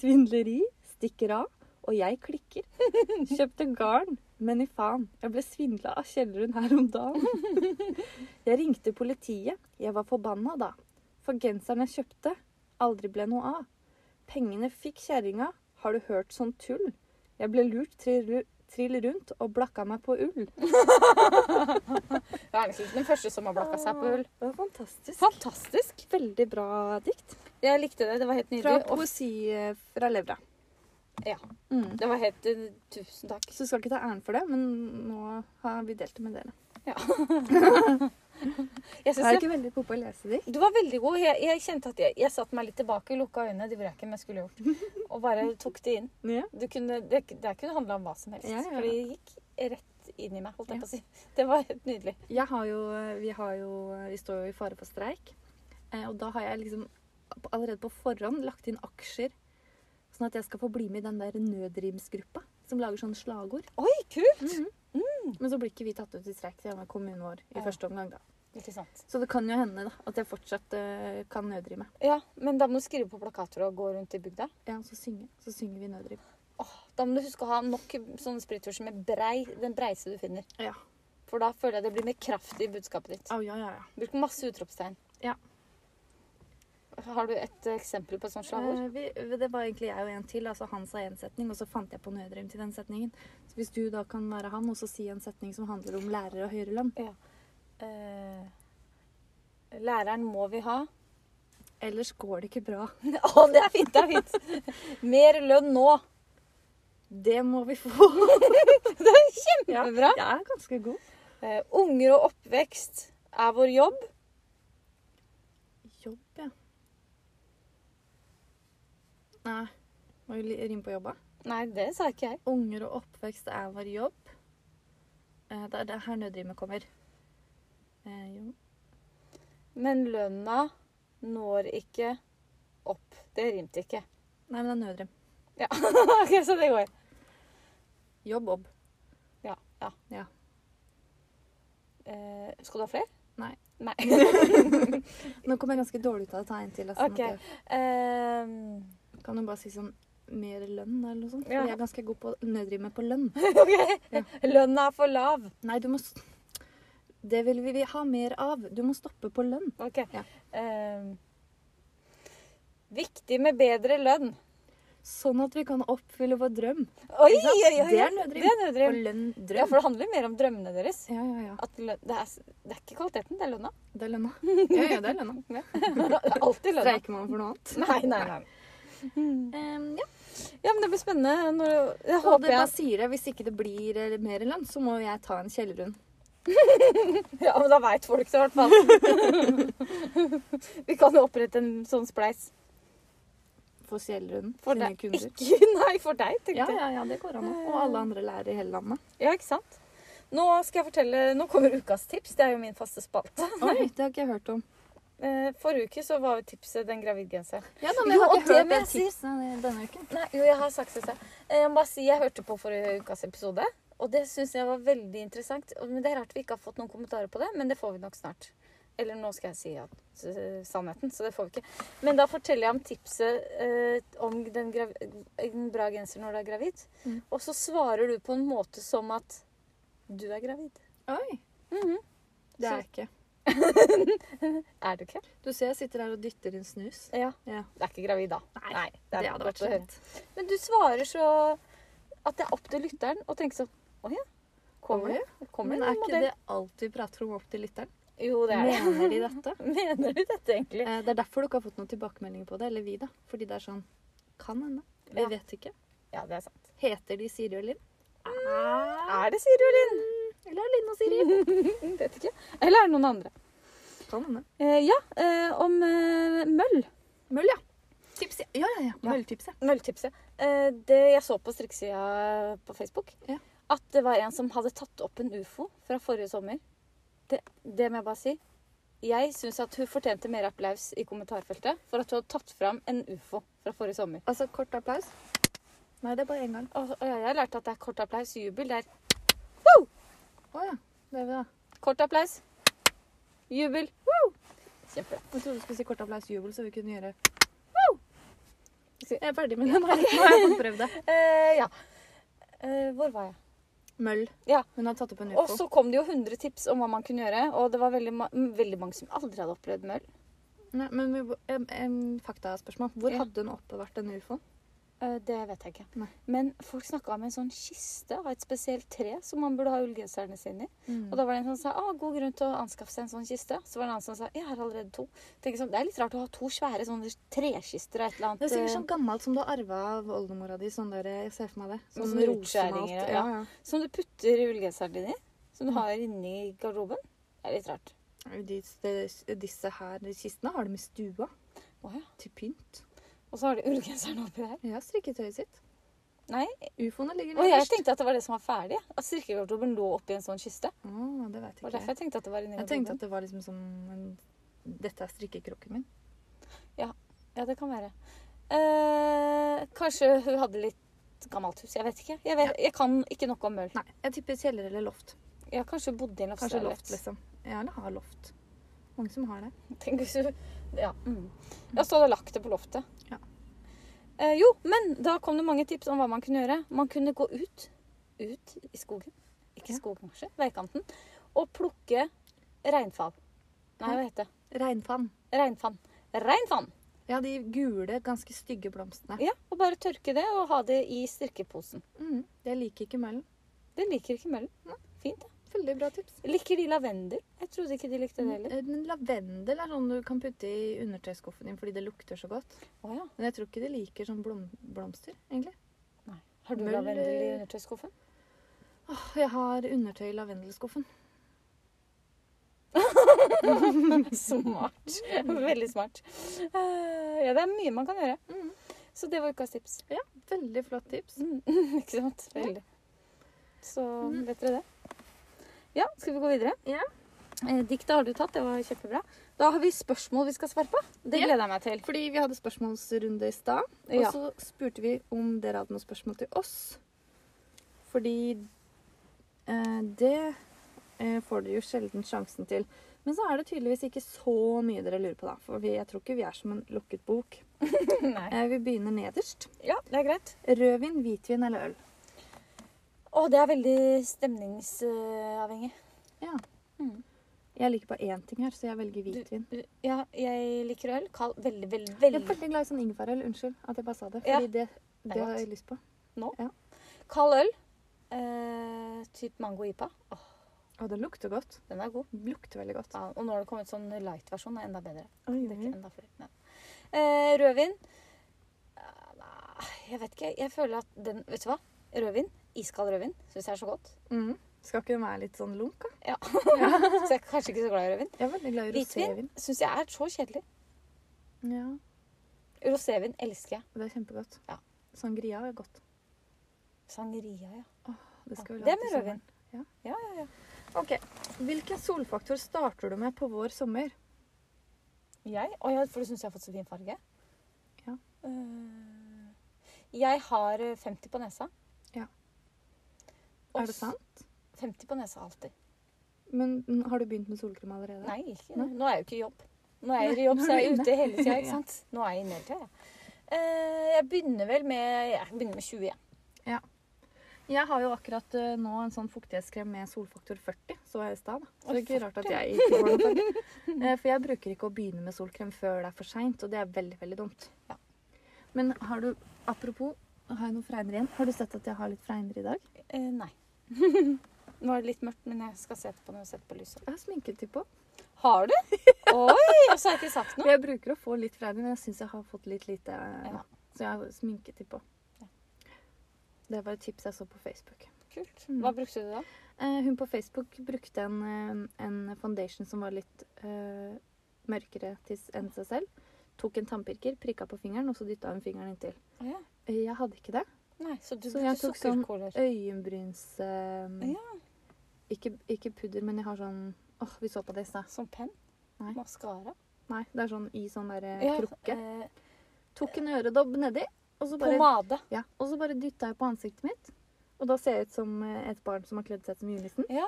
B: Svindleri, stikker av, og jeg klikker. *laughs* Kjøpte garn, Men i faen, jeg ble svindla av Kjellrun her om dagen. *laughs* jeg ringte politiet. Jeg var forbanna da. For genseren jeg kjøpte, aldri ble noe av. Pengene fikk kjerringa. Har du hørt sånn tull? Jeg ble lurt trill, trill rundt og blakka meg på ull.
A: Det er liksom ikke den første som har blakka seg på ull.
B: Det var fantastisk.
A: Fantastisk!
B: Veldig bra dikt.
A: Jeg likte det. Det var helt
B: Fra
A: nydelig. Og,
B: poesi eh, fra levra.
A: Ja.
B: Mm.
A: det var helt eh, Tusen takk.
B: Så du skal ikke ta æren for det, men nå har vi delt det med dere.
A: Jeg
B: Jeg er
A: synes det,
B: ikke veldig god på å lese dikt.
A: du var veldig god. Jeg, jeg kjente at jeg, jeg satte meg litt tilbake, lukka øynene. Det gjorde jeg ikke, men jeg skulle gjort. Og bare tok det inn.
B: Ja.
A: Du kunne, det, det kunne handla om hva som helst.
B: Ja, ja, ja.
A: For det gikk rett inn i meg, holdt jeg
B: Ja.
A: på å si. Det var helt nydelig.
B: Jeg har jo, vi, har jo, vi står jo i fare for streik. eh, Og da har jeg liksom allerede på forhånd lagt inn aksjer, sånn at jeg skal få bli med i den der nødrimsgruppa som lager sånne slagord.
A: Oi, kult!
B: Men så blir ikke vi tatt ut i streik, det er med kommunen vår i
A: Ja.
B: første omgang, da.
A: Ikke sant.
B: Så det kan jo hende da, at jeg fortsatt eh, kan nødrime.
A: Ja, men da må du skrive på plakater og gå rundt i bygda.
B: Ja, og så synge. Så synger vi nødrim.
A: Åh, da må du huske å ha nok sånne sprittusjer med brei, den breiste du finner.
B: Ja.
A: For da føler jeg det blir mer kraft i budskapet ditt.
B: Au, ja, ja, ja.
A: Bruk masse utropstegn.
B: Ja.
A: Har du et eh, eksempel på et sånt slagord?
B: Eh, vi, det var egentlig jeg og en til. altså Han sa en setning, og så fant jeg på nødrim til den setningen. Så Hvis du da kan være han, og så si en setning som handler om lærere og høyere lønn.
A: Eh, læreren må vi ha.
B: Ellers går det ikke bra.
A: *laughs* Å, det er fint! Det er fint. Mer lønn nå.
B: Det må vi *laughs* få. Ja.
A: Kjempebra.
B: Jeg er ganske god.
A: Eh, unger og oppvekst er vår jobb.
B: Jobb, ja. Nei. Må jo li- rime på jobba.
A: Nei, det sa ikke jeg.
B: Unger og oppvekst er vår jobb. Eh, Det er det her nødrimet kommer. Eh, jo.
A: Men lønna når ikke opp. Det rimte ikke.
B: Nei, men det er nødrim.
A: *laughs* ok, så det går.
B: Jobb, ob.
A: Ja. ja.
B: Ja.
A: Eh, skal du ha flere?
B: Nei.
A: *laughs* Nei.
B: Nå kom jeg ganske dårlig ut av det. Ta en til. Altså,
A: Ok. Ehm, *laughs*
B: Kan du bare si sånn mer lønn eller noe sånt?
A: Ja.
B: For jeg er ganske god på å nødrime på lønn.
A: ok.
B: Ja.
A: Lønna er for lav.
B: Nei, du må s- Det vil vi ha mer av. Du må stoppe på lønn.
A: Ok.
B: Ja.
A: Ehm, viktig med bedre lønn.
B: Sånn at vi kan oppfylle vår drøm.
A: Oi,
B: Ikke sant?
A: oi, oi.
B: Det er nødrim.
A: Det er
B: Vår
A: nødrim.
B: lønn
A: Ja,
B: drøm.
A: for det handler mer om drømmene deres.
B: Ja, ja, ja.
A: At lønn, det, er, s- det er ikke kvaliteten, det er lønna.
B: Det er lønna. Ja, ja, det er lønna.
A: *laughs* Ja. *laughs* Det er alltid lønna.
B: Streiker man for noe annet?
A: Nei, nei, nei.
B: Ehm, ja.
A: Ja, men det blir spennende. Når, jeg
B: Og
A: håper
B: det bare
A: jeg
B: sier jeg, hvis ikke det blir eh, mer lønn, så må jeg ta en kjellerund.
A: Ja, men da veit folk det i hvert fall. *laughs* Vi kan jo opprette en sånn spleis.
B: For kjellerunden.
A: For
B: sine
A: deg.
B: kunder.
A: Ikke *laughs* Nei, for deg, tenkte
B: Ja,
A: jeg.
B: ja, ja, det går an. å- Og alle andre lærere i hele landet.
A: Ja, ikke sant? Nå skal jeg fortelle, nå kommer ukas tips. Det er jo min faste spalte. *laughs*
B: Oi, det har ikke jeg hørt om.
A: Eh, Forrige uke så var jo tipset den gravidgenseren.
B: Ja, da,
A: men
B: men
A: jeg
B: jo,
A: har
B: og
A: ikke
B: det
A: hørt
B: må
A: det
B: jeg si denne uken.
A: Nei, jo, jeg har sagt det selv. Eh, Jeg må bare si jeg hørte på forrige ukas episode. Og det syns jeg var veldig interessant. Og- Men Det er rart vi ikke har fått noen kommentarer på det, men det får vi nok snart. Eller nå skal jeg si at, eh, sannheten, så det får vi ikke. Men da forteller jeg om tipset eh, om den grav en bra genser når du er gravid.
B: Mm.
A: Og så svarer du på en måte som at du er gravid.
B: Oi. Mhm. Det
A: Så-
B: er jeg ikke.
A: Er du ikke?
B: Du ser jeg sitter her og dytter inn snus.
A: Ja.
B: Ja.
A: Du er ikke gravid da.
B: Nei,
A: det, er
B: hadde
A: godt
B: vært
A: å høre.
B: slett.
A: Men du svarer så at det er opp til lytteren å tenke sånn Å ja. Kommer det? Kommer
B: Men
A: det
B: er
A: en
B: ikke
A: modell?
B: det alt vi prater om opp til lytteren?
A: Jo, det er det.
B: Mener de dette?
A: *laughs* Mener du dette egentlig?
B: Eh, Det er derfor du ikke har fått noen tilbakemeldinger på det, eller vi, da. Fordi det er sånn Kan hende. Vi
A: Ja.
B: vet ikke.
A: Ja, det er sant.
B: Heter de Siri og Linn?
A: Er det Siri og Linn?
B: Eller er Linn og Siri?
A: *laughs* Vet ikke. Eller er det noen andre?
B: Kan hende.
A: Eh, ja, eh, om eh, møll.
B: Møll, ja. Tips, ja. Ja, ja, ja.
A: Ja.
B: Mølltips, ja.
A: Mølltipset. Eh, det jeg så på strikkesida på Facebook,
B: Ja.
A: at det var en som hadde tatt opp en ufo fra forrige sommer. Det, det må jeg bare si. Jeg syns at hun fortjente mer applaus i kommentarfeltet for at hun hadde tatt fram en ufo fra forrige sommer.
B: Altså, kort applaus. Nei, det er bare én gang.
A: Og, og jeg har lært at det er kort applaus, jubel. Det er
B: Å ja. Det er vi, da.
A: kort applaus, jubel. Woo! Kjempebra.
B: Jeg trodde du skulle si kort applaus jubel, så vi kunne gjøre
A: Skal vi-
B: *laughs* Jeg er ferdig med det. Nå har jeg fått prøvd det.
A: Eh, ja. Eh, hvor var jeg?
B: Møll.
A: Ja.
B: Hun hadde tatt opp en
A: Og
B: ufo.
A: så kom det jo 100 tips om hva man kunne gjøre, og det var veldig, ma veldig mange som aldri hadde opplevd møll.
B: Nei, men vi, em, em, faktaspørsmål. Hvor
A: Ja.
B: hadde hun oppbevart denne ufoen?
A: Eh, Det vet jeg ikke.
B: Nei.
A: Men folk snakka om en sånn kiste av et spesielt tre som man burde ha ullgenserne sine i.
B: Mm.
A: Og da var det en som sa ah, god grunn til å anskaffe seg en sånn kiste. Så var det en annen som sa jeg har allerede to. Tenker sånn, Det er litt rart å ha to svære sånne trekister og et eller annet.
B: Det er sikkert
A: eh,
B: sånn gammelt som du har arva av oldemora di. Sånn der, jeg ser for meg det.
A: Med
B: Sånn
A: sånne
B: rosemalt.
A: utskjæringer,
B: Ja,
A: ja.
B: ja.
A: Som du putter ullgenseren din i.
B: Mm.
A: Som du har inni garderoben. Det er litt rart.
B: De, de, disse her kistene har de i stua
A: Å ja.
B: til pynt.
A: Og så har de ullgenseren oppi der.
B: Ja, strikketøyet sitt.
A: Nei.
B: Ufoene ligger
A: Og jeg tenkte at det var det som var ferdig. At strikkegarderoben lå oppi en sånn kiste.
B: Ah, det vet
A: Det var
B: ikke
A: derfor
B: jeg.
A: jeg tenkte at det var inni
B: Jeg tenkte
A: garderoben.
B: at det var liksom som en, Dette er strikkekroken min.
A: Ja, det kan være. Eh, kanskje hun hadde litt gammelt hus. Jeg vet ikke. Jeg, vet, jeg kan ikke noe om møll.
B: Nei, jeg tipper kjeller eller loft.
A: Jeg kanskje hun bodde i en
B: Kanskje loft,
A: loftsleilighet.
B: liksom. Ja, eller har loft. Mange som har det.
A: Tenk hvis hun Ja. Mm. ja så hadde hun lagt det på loftet.
B: Ja.
A: Eh, jo, men da kom det mange tips om hva man kunne gjøre. Man kunne gå ut. Ut i skogen. Ikke
B: Ja.
A: skogen, kanskje. Veikanten. Og plukke reinfall. Nei, hva heter det?
B: Regnfann.
A: Reinfann. Reinfann!
B: Ja, de gule, ganske stygge blomstene.
A: Ja, og bare tørke det og ha det i strikkeposen.
B: Mm, det liker ikke møllen.
A: Det liker ikke møllen.
B: Nei.
A: Fint.
B: Veldig bra tips.
A: Liker de lavendel? Jeg trodde ikke de likte det heller.
B: Eh, Men lavendel er sånn du kan putte i undertøyskuffen din fordi det lukter så godt.
A: Å ja.
B: Men jeg tror ikke de liker sånn blom blomster, egentlig.
A: Nei. Har du
B: Møll- eh,
A: lavendel i undertøyskuffen? *laughs*
B: Åh, jeg har undertøy i lavendelskuffen.
A: Smart. *laughs* Veldig smart. Eh, ja, det er mye man kan gjøre.
B: Mhm.
A: Så det var ukas tips. *laughs*
B: Veldig flott tips.
A: Mm, ikke sant? Veldig. Så vet dere det. Ja, skal vi gå videre?
B: Mm. Ja.
A: Eh, diktet har du tatt, det var kjempebra. Da har vi spørsmål vi skal svare på. Det
B: Ja.
A: gleder jeg meg til.
B: Fordi vi hadde spørsmålsrunde i stad, og
A: Ja.
B: så spurte vi om dere hadde noen spørsmål til oss. Fordi eh, det eh, får dere jo sjelden sjansen til. Men så er det tydeligvis ikke så mye dere lurer på, da. For vi, jeg tror ikke vi er som en lukket bok.
A: *laughs* Nei.
B: Eh, vi begynner nederst.
A: Ja, det er greit.
B: Rødvin, hvitvin eller øl?
A: Å, det er veldig stemningsavhengig.
B: Jeg liker bare én ting her, så jeg velger hvitvin.
A: Ja, jeg liker øl. Kald, veldig, veldig,
B: Jeg er
A: veldig
B: veldig glad i sånn ingefærøl. Unnskyld at jeg bare sa det.
A: Ja.
B: Fordi det,
A: er
B: det har
A: godt.
B: jeg lyst på.
A: Kald øl. Eh, typ mango ipa. Åh,
B: Å, den lukter godt.
A: den er god.
B: Lukter veldig godt.
A: Ja, og nå har det kommet sånn light-versjon. Det er enda bedre.
B: Oi,
A: Det er
B: oi.
A: ikke enda flere. Nei. Eh, rødvin Eh, nei, Jeg vet ikke. Jeg føler at den Vet du hva? Rødvin. Iskald rødvin syns jeg er så godt.
B: Mm. Skal ikke den være litt sånn lunk, da?
A: Så jeg er kanskje ikke så glad i *laughs* rødvin.
B: Jeg er veldig glad i rosévin.
A: Hvitvin syns jeg er så kjedelig.
B: Ja,
A: Rosévin elsker jeg.
B: det er kjempegodt.
A: Ja.
B: Sangria er godt.
A: Sangeria, ja.
B: Det, skal vi
A: Ja,
B: lage
A: det med
B: til
A: rødvin.
B: sommeren.
A: Ja,
B: ja, Ok, Hvilken solfaktor starter du med på vår sommer?
A: Jeg? Å ja, for du syns jeg har fått så fin farge?
B: Ja.
A: Eh, jeg har eh, 50 på nesa.
B: Ja.
A: Og
B: er det
A: s-
B: sant?
A: 50 på nesa alltid.
B: Men mm, har du begynt med solkrem allerede?
A: Nei, ikke.
B: Nei.
A: nå er jeg jo ikke i jobb. Nå er jeg
B: Nei,
A: i jobb,
B: nå er
A: så jeg
B: du
A: er
B: inne.
A: ute hele tida. *laughs*
B: Ja.
A: Ikke sant? Nå er jeg inne hele tida, jeg. Eh, jeg begynner vel med Jeg begynner med 20, jeg.
B: Jeg har jo akkurat eh, nå en sånn fuktighetskrem med solfaktor 40, så jeg i stad. da. Så det er ikke
A: Oi,
B: rart at jeg ikke får den fargen. *laughs* Eh, For jeg bruker ikke å begynne med solkrem før det er for seint, og det er veldig, veldig dumt.
A: Ja.
B: Men har du Apropos, har jeg noe fregner igjen? Har du sett at jeg har litt fregner i dag?
A: Eh, *laughs* nei. Nå er det litt mørkt, men jeg skal se på når jeg setter på lyset.
B: Jeg har sminket på.
A: Har *laughs* du? Oi! Og så har jeg ikke sagt noe.
B: Jeg bruker å få litt fregner, men jeg syns jeg har fått litt lite. eh,
A: Ja.
B: Så jeg har sminket på. Det var et tips jeg så på Facebook.
A: Kult.
B: Mm.
A: Hva brukte du da?
B: Eh, Hun på Facebook brukte en, eh, en foundation som var litt eh, mørkere til s- enn seg selv. Tok en tannpirker, prikka på fingeren, og så dytta hun fingeren inntil.
A: Å ja.
B: Eh, Jeg hadde ikke det.
A: Nei, så du
B: Så
A: brukte
B: jeg tok sånn-
A: sukkerkoler.
B: Øyenbryns eh,
A: Ja.
B: ikke, ikke pudder, men jeg har sånn Åh, vi så på det i stad.
A: Eh, Som penn?
B: Nei.
A: Maskara?
B: Nei, det er sånn i sånn der eh,
A: Ja,
B: krukke.
A: eh,
B: Tok en øredobb nedi, og så bare,
A: pomade.
B: ja, og så bare dytta jeg på ansiktet mitt. Og da ser jeg ut som eh, et barn som har kledd seg ut som julenissen.
A: Ja.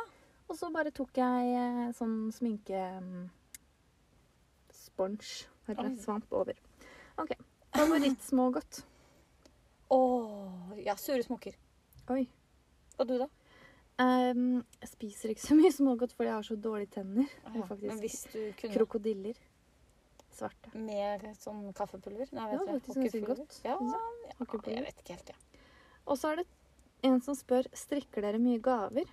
B: Og så bare tok jeg eh, sånn sminke mm, Spons. Eller
A: Oi.
B: svamp over. OK.
A: *clears throat*
B: Favorittsmågodt.
A: Åh, ja, sure smokker.
B: Oi.
A: Og du, da?
B: Ehm, jeg spiser ikke så mye smågodt fordi jeg har så dårlige tenner.
A: Ah,
B: Det er
A: ja.
B: faktisk
A: Men hvis du kunne
B: Krokodiller. Svarte.
A: mer sånn kaffepulver Nei,
B: Det
A: vet
B: var
A: du,
B: faktisk ganske
A: hockeypulver.
B: godt.
A: Ja,
B: synes
A: jeg
B: Hockeypulver.
A: vet ikke helt, jeg.
B: Og så er det en som spør strikker dere mye gaver.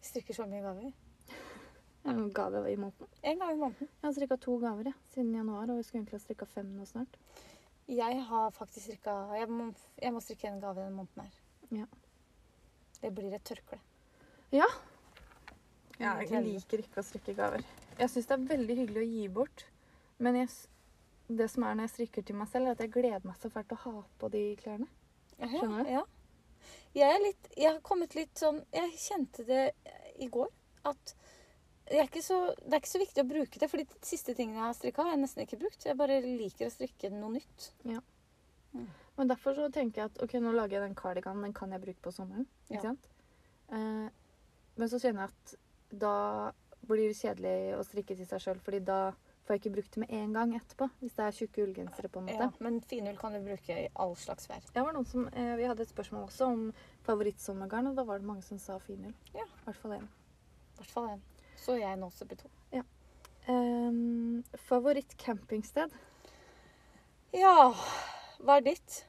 A: Vi Strikker så mye gaver.
B: Er det noen gave i måneden?
A: En gang i måneden.
B: Jeg har strikka to gaver jeg, siden januar, og jeg skulle egentlig ha strikka fem nå snart.
A: Jeg har faktisk strikka jeg, må- jeg må strikke en gave denne måneden her.
B: Ja.
A: Det blir et tørkle.
B: Ja, jeg liker ikke å strikke gaver. Jeg syns det er veldig hyggelig å gi bort, men jeg, s- det som er når jeg strikker til meg selv, er at jeg gleder meg så fælt til å ha på de klærne. Skjønner du?
A: Ja. Jeg er litt Jeg har kommet litt sånn Jeg kjente det i går at jeg er ikke så, det er ikke så viktig å bruke det, for de siste tingene jeg har strikka, har jeg nesten ikke brukt. Jeg bare liker å strikke noe nytt.
B: Men derfor så tenker jeg at ok, nå lager jeg den cardiganen, den kan jeg bruke på sommeren. Ikke
A: Ja.
B: sant? Eh, men så kjenner jeg at da blir det kjedelig å strikke til seg sjøl, fordi da får jeg ikke brukt det med en gang etterpå. Hvis det er tjukke ullgensere på en måte.
A: Ja, men finull kan du bruke i all slags vær.
B: Jeg var noen som, eh, vi hadde et spørsmål også om favorittsommergarn, og da var det mange som sa finull.
A: Ja.
B: I hvert fall én.
A: I hvert fall en. Så jeg nå også beto.
B: Um, favoritt campingsted?
A: Ja, hva er ditt?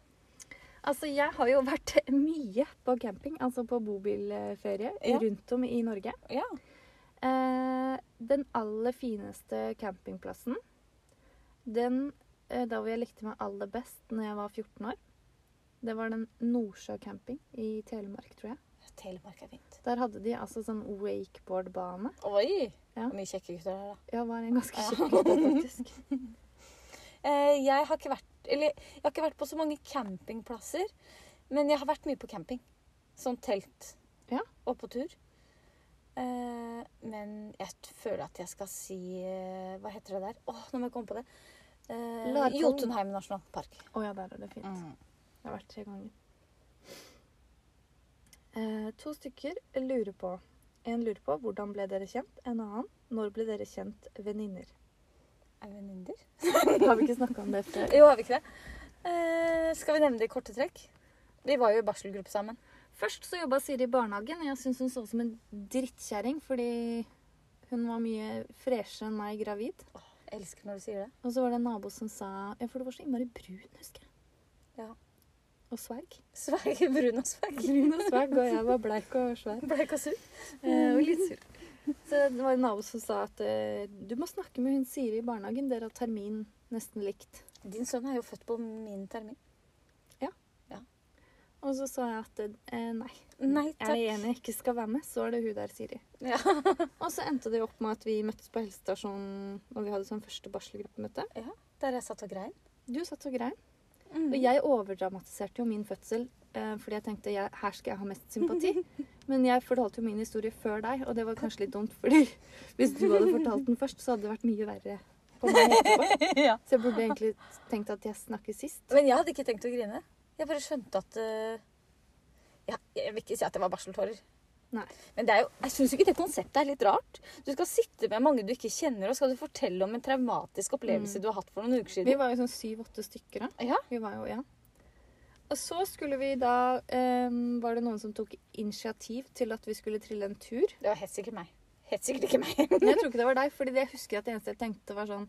B: Altså, jeg har jo vært *laughs* mye på camping, altså på bobilferie
A: Ja.
B: rundt om i Norge.
A: Ja.
B: Eh, den aller fineste campingplassen, den eh, da hvor jeg likte meg aller best når jeg var 14 år, det var den Nordsjø camping i Telemark, tror jeg.
A: Telemark er fint.
B: Der hadde de altså sånn wakeboardbane.
A: Oi!
B: Ja.
A: Mye kjekke gutter der, da.
B: Ja, var en ganske
A: Ja.
B: kjekk gutt, faktisk.
A: *laughs* Eh, jeg har ikke vært Eller jeg har ikke vært på så mange campingplasser, men jeg har vært mye på camping. Sånn telt.
B: Ja.
A: Og på tur. Eh, men jeg t- føler at jeg skal si eh, Hva heter det der? Åh, nå må jeg komme på det. Eh,
B: Larkollen.
A: Jotunheim nasjonalpark.
B: Å ja, der er det fint.
A: Mm.
B: Jeg har vært tre ganger. Eh, to stykker lurer på. En lurer på hvordan ble dere kjent? En annen når ble dere kjent venninner?
A: Er vi venninner?
B: *laughs* Har vi ikke snakka om det før?
A: Jo, har vi ikke det? Eh, skal vi nevne det i korte trekk? Vi var jo i barselgruppe sammen.
B: Først så jobba Siri i barnehagen. Jeg syns hun så ut som en drittkjerring fordi hun var mye freshere enn meg gravid.
A: Jeg elsker når du sier det.
B: Og så var det en nabo som sa Ja, for du var så innmari brun, husker jeg.
A: Ja.
B: Og sverg.
A: Sverg, brun og sverg.
B: Brun og sverg, og jeg var bleik og svær.
A: Bleik og sur.
B: Eh, og litt sur. *laughs* Så det var en nabo som sa at eh, du må snakke med hun Siri i barnehagen. Dere har termin nesten likt.
A: Din sønn er jo født på min termin.
B: Og så sa jeg at eh, nei,
A: Nei,
B: jeg
A: takk.
B: er enig, jeg ikke skal være med. Så er det hun der, Siri.
A: Ja.
B: og så endte det jo opp med at vi møttes på helsestasjonen når vi hadde sånn første barselgruppemøte.
A: *laughs* Der jeg satt og grein.
B: Du satt og grein.
A: Mm.
B: Og jeg overdramatiserte jo min fødsel eh, fordi jeg tenkte jeg, her skal jeg ha mest sympati. *laughs* Men jeg fortalte jo min historie før deg, og det var kanskje litt dumt. fordi hvis du hadde fortalt den først, så hadde det vært mye verre på meg etterpå. *laughs*
A: Ja.
B: Så jeg burde egentlig tenkt at jeg snakker sist.
A: Men jeg hadde ikke tenkt å grine. Jeg bare skjønte at eh, ja, Jeg vil ikke si at det var barseltårer.
B: Nei.
A: Men det er jo, jeg syns ikke det konseptet er litt rart. Du skal sitte med mange du ikke kjenner, og skal du fortelle om en traumatisk opplevelse
B: Mm.
A: du har hatt for noen uker
B: Vi
A: siden.
B: var jo sånn syv-åtte stykker da.
A: Ja.
B: Vi var jo, ja. Og så skulle vi da eh, Var det noen som tok initiativ til at vi skulle trille en tur?
A: Det var helt sikkert meg. Helt sikkert ikke meg.
B: Men jeg tror ikke det var deg, fordi det jeg husker at det eneste jeg tenkte, var sånn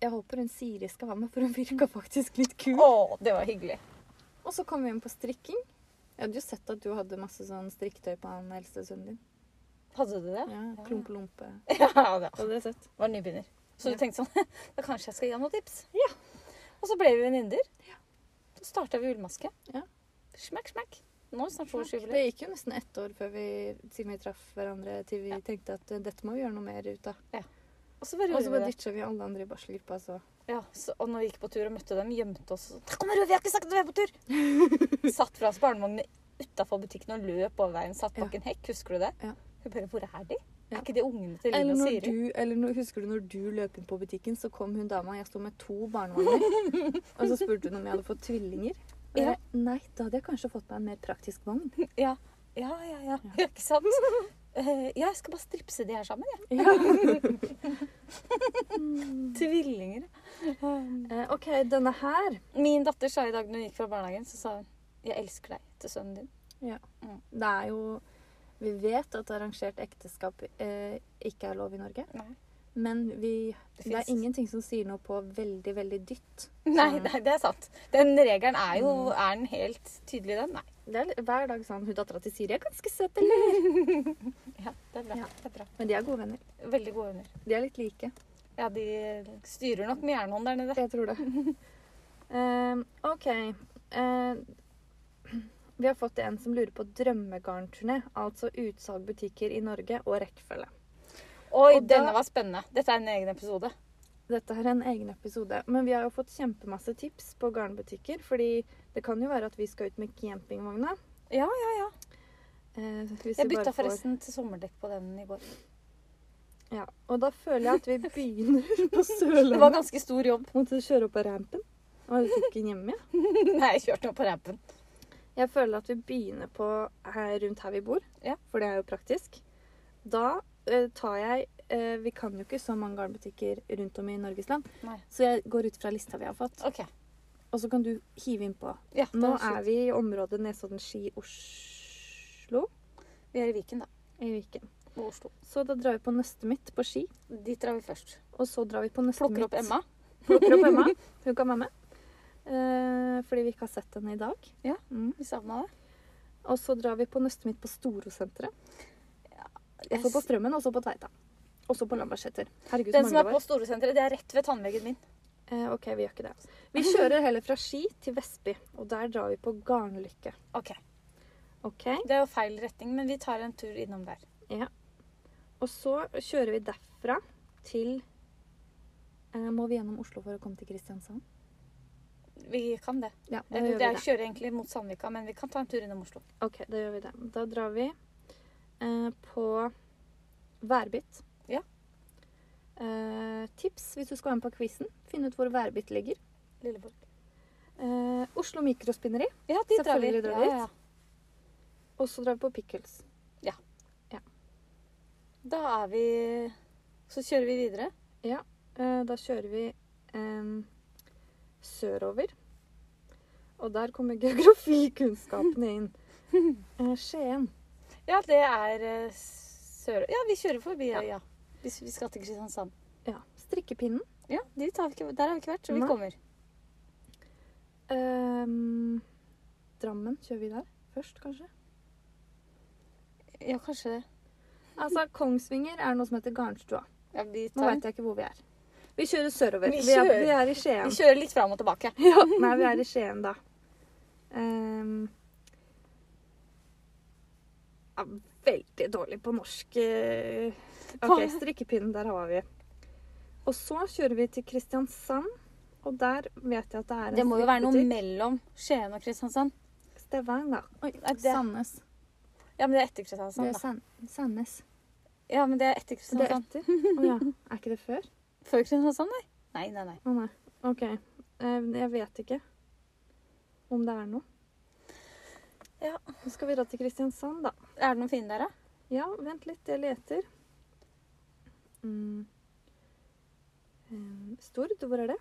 B: Jeg håper hun Siri skal være med, for hun virka faktisk litt kul.
A: Å, det var hyggelig.
B: Og så kom vi inn på strikking. Jeg hadde jo sett at du hadde masse sånn strikketøy på han eldste sønnen din.
A: Hadde
B: *laughs*
A: du det?
B: Ja, Klumpe-lompe.
A: Ja, det
B: Det hadde jeg sett.
A: var nybegynner. Så
B: Ja.
A: du tenkte sånn *laughs* Da kanskje jeg skal gi ham noen tips. Ja. Og så ble vi venninner. Så starta vi ullmaske.
B: Ja.
A: Smekk, smekk. Nå er det snart
B: Det
A: sjuårsjubileum.
B: gikk jo nesten ett år før vi, siden vi traff hverandre, til vi tenkte at eh, dette må vi gjøre noe mer ut av.
A: Og så bare
B: Og
A: gjorde
B: så
A: vi det.
B: bare ditcha vi alle andre i barselgruppa, så
A: Ja, så, og når vi gikk på tur og møtte dem, gjemte oss og sånn 'Der kommer Rød, vi har ikke sagt at vi er på tur!'
B: *laughs*
A: Satt fra oss barnevognen utafor butikken og løp over veien. Satt bak
B: Ja.
A: en hekk, husker du det?
B: Ja.
A: Hun bare 'Hvor er de?'
B: Ja.
A: Er ikke de ungene til Linn
B: Eller
A: og
B: når
A: Siri?
B: du, eller når, husker du når du løp inn på butikken, så kom hun dama, jeg sto med to barnevogner, *laughs* og så spurte hun om jeg hadde fått tvillinger. Og jeg, nei, da hadde jeg kanskje fått meg en mer praktisk *laughs* vogn.
A: Ja. ja, ja, ja. *laughs* Ikke sant?
B: *laughs*
A: Eh, ja, jeg skal bare stripse de her sammen. Ja. Tvillinger. Um,
B: Eh, ok, denne her,
A: Min datter sa i dag når hun gikk fra barnehagen, så sa hun 'Jeg elsker deg' til sønnen din.
B: det er jo Vi vet at arrangert ekteskap eh, ikke er lov i Norge.
A: Nei.
B: Men vi,
A: Det
B: det er
A: finnes-
B: ingenting som sier noe på veldig, veldig dytt.
A: Nei,
B: Sånn.
A: nei, det er sant. Den regelen er jo
B: Mm.
A: Er den helt tydelig, den? Nei.
B: Det er hver dag sånn Hun dattera til Siri er ganske søt, eller?
A: Ja, det er bra.
B: Ja.
A: Det er bra.
B: Men de er gode venner.
A: Veldig gode venner.
B: De er litt like.
A: Ja, de styrer nok med jernhånd der nede.
B: *laughs* Jeg tror det. Ehm, OK. Ehm, vi har fått en som lurer på drømmegarnturné. Altså utsalg, butikker i Norge og rekkefølge.
A: Oi,
B: Og da-
A: denne var spennende. Dette er en egen episode.
B: Dette er en egen episode, men vi har jo fått kjempemasse tips på garnbutikker. Fordi det kan jo være at vi skal ut med campingvogna.
A: Ja, ja, ja.
B: Eh, hvis
A: Jeg
B: vi bare
A: bytta
B: får-
A: forresten til sommerdekk på den i
B: *laughs*
A: går.
B: Ja, og da føler jeg
A: *laughs*
B: at vi begynner på
A: Det var
B: Sørlandet.
A: ganske stor jobb. *laughs*
B: Måtte kjøre opp på rampen. Og jeg fikk den hjemme. ja.
A: Nei, jeg kjørte opp på rampen.
B: Jeg føler at vi begynner på her rundt her vi bor,
A: Ja.
B: for det er jo praktisk. Da eh, tar jeg eh, Vi kan jo ikke så mange garnbutikker rundt om i Norges land,
A: Nei.
B: så jeg går ut fra lista vi har fått.
A: OK.
B: Og så kan du hive innpå.
A: Ja, det
B: Nå
A: var
B: er
A: slutt.
B: vi i området sånn Nesodden-Ski-Oslo
A: Vi er i Viken, da.
B: i Viken.
A: Og Oslo.
B: Så da drar vi på nøstet mitt på ski,
A: Dit drar vi først.
B: og så drar vi på nøstet
A: Plukker
B: mitt
A: opp Emma.
B: Plukker opp
A: *laughs*
B: Emma. Hun kan være med. Eh, fordi vi ikke har sett henne i dag.
A: Ja.
B: Mm.
A: Vi savna det.
B: Og så drar vi på nøstet mitt på Storosenteret. Og så på Strømmen, og så på Tveita. Og så på Lambertseter. Herregud, så
A: Den som
B: mange
A: er
B: det
A: på
B: var.
A: Storosenteret, det er rett ved tannlegen min.
B: Eh, ok, vi gjør ikke det. Vi kjører heller fra Ski til Vestby, og der drar vi på Garnlykke.
A: OK.
B: Ok?
A: Det er jo feil retning, men vi tar en tur innom der.
B: Og så kjører vi derfra til eh, Må vi gjennom Oslo for å komme til Kristiansand?
A: Vi kan det.
B: Ja, da
A: Eller det
B: gjør vi
A: er,
B: Eh, det.
A: kjører egentlig mot Sandvika, men vi kan ta en tur innom Oslo.
B: Ok, da gjør vi det. Da drar vi eh, på Værbit.
A: Ja.
B: Eh, tips hvis du skal være med på quizen. Finn ut hvor Værbit ligger.
A: Lilleborg.
B: Eh, Oslo Mikrospinneri.
A: Ja, dit drar vi.
B: Selvfølgelig drar vi
A: Ja, ja.
B: Og så drar vi på Pickles.
A: Da er vi Så kjører vi videre.
B: Eh, da kjører vi eh, sørover. Og der kommer *laughs* geografikunnskapene *laughs* inn. Eh, Skien.
A: Ja, det er eh, sør... Ja, vi kjører forbi øya. Hvis vi skal til Kristiansand.
B: Ja. Strikkepinnen.
A: Ja, dit har vi ikke, Der har vi ikke vært, så vi
B: Nei.
A: kommer.
B: Eh, Drammen kjører vi der først, kanskje.
A: Ja, kanskje det.
B: Altså, Kongsvinger er noe som heter Garnstua.
A: Ja, vi,
B: Nå
A: tar,
B: veit jeg ikke hvor vi er. Vi kjører sørover.
A: Vi
B: Vi, er,
A: kjører.
B: vi er i
A: vi
B: Skien.
A: kjører litt fram og *laughs* tilbake.
B: Ja, nei, vi er i Skien, da. Ehm, ja, veldig dårlig på norsk eh, OK, strikkepinnen, der har vi. Og så kjører vi til Kristiansand, og der vet jeg at det er en
A: Det må jo være noe
B: strikkebutikk.
A: mellom Skien og Kristiansand.
B: Stavanger. Oi,
A: Nei, det-
B: Sandnes.
A: Ja, men det er etter
B: Det er
A: Kristiansand, da.
B: San Sandnes.
A: Ja, men det er etter
B: Det er
A: Kristiansand.
B: etter. Å ja. Er ikke det før?
A: Før Kristiansand, nei? Nei, nei, nei.
B: Å nei. OK. Eh, Jeg vet ikke om det er noe.
A: Ja.
B: Nå skal vi dra til Kristiansand, da.
A: Er det noen fine der, da?
B: Ja, vent litt, jeg leter. Mm. Eh, Stord, hvor er det?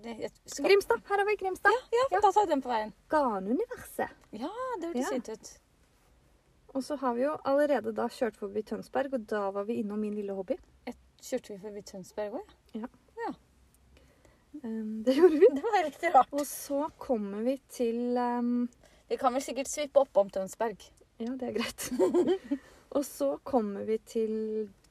A: Det, jeg skal...
B: Grimstad! Her har vi Grimstad!
A: Ja, da tar vi den på veien.
B: Garnuniverset.
A: Ja, det
B: Ja.
A: hørtes fint ut.
B: Og så har vi jo allerede da kjørt forbi Tønsberg, og da var vi innom min lille hobby.
A: Jeg kjørte vi forbi Tønsberg òg, ja. Mm.
B: Eh, det gjorde vi.
A: Det var riktig rart.
B: Og så kommer vi til eh,
A: Vi kan vel sikkert svippe oppom Tønsberg.
B: Ja, det er greit. *laughs* og så kommer vi til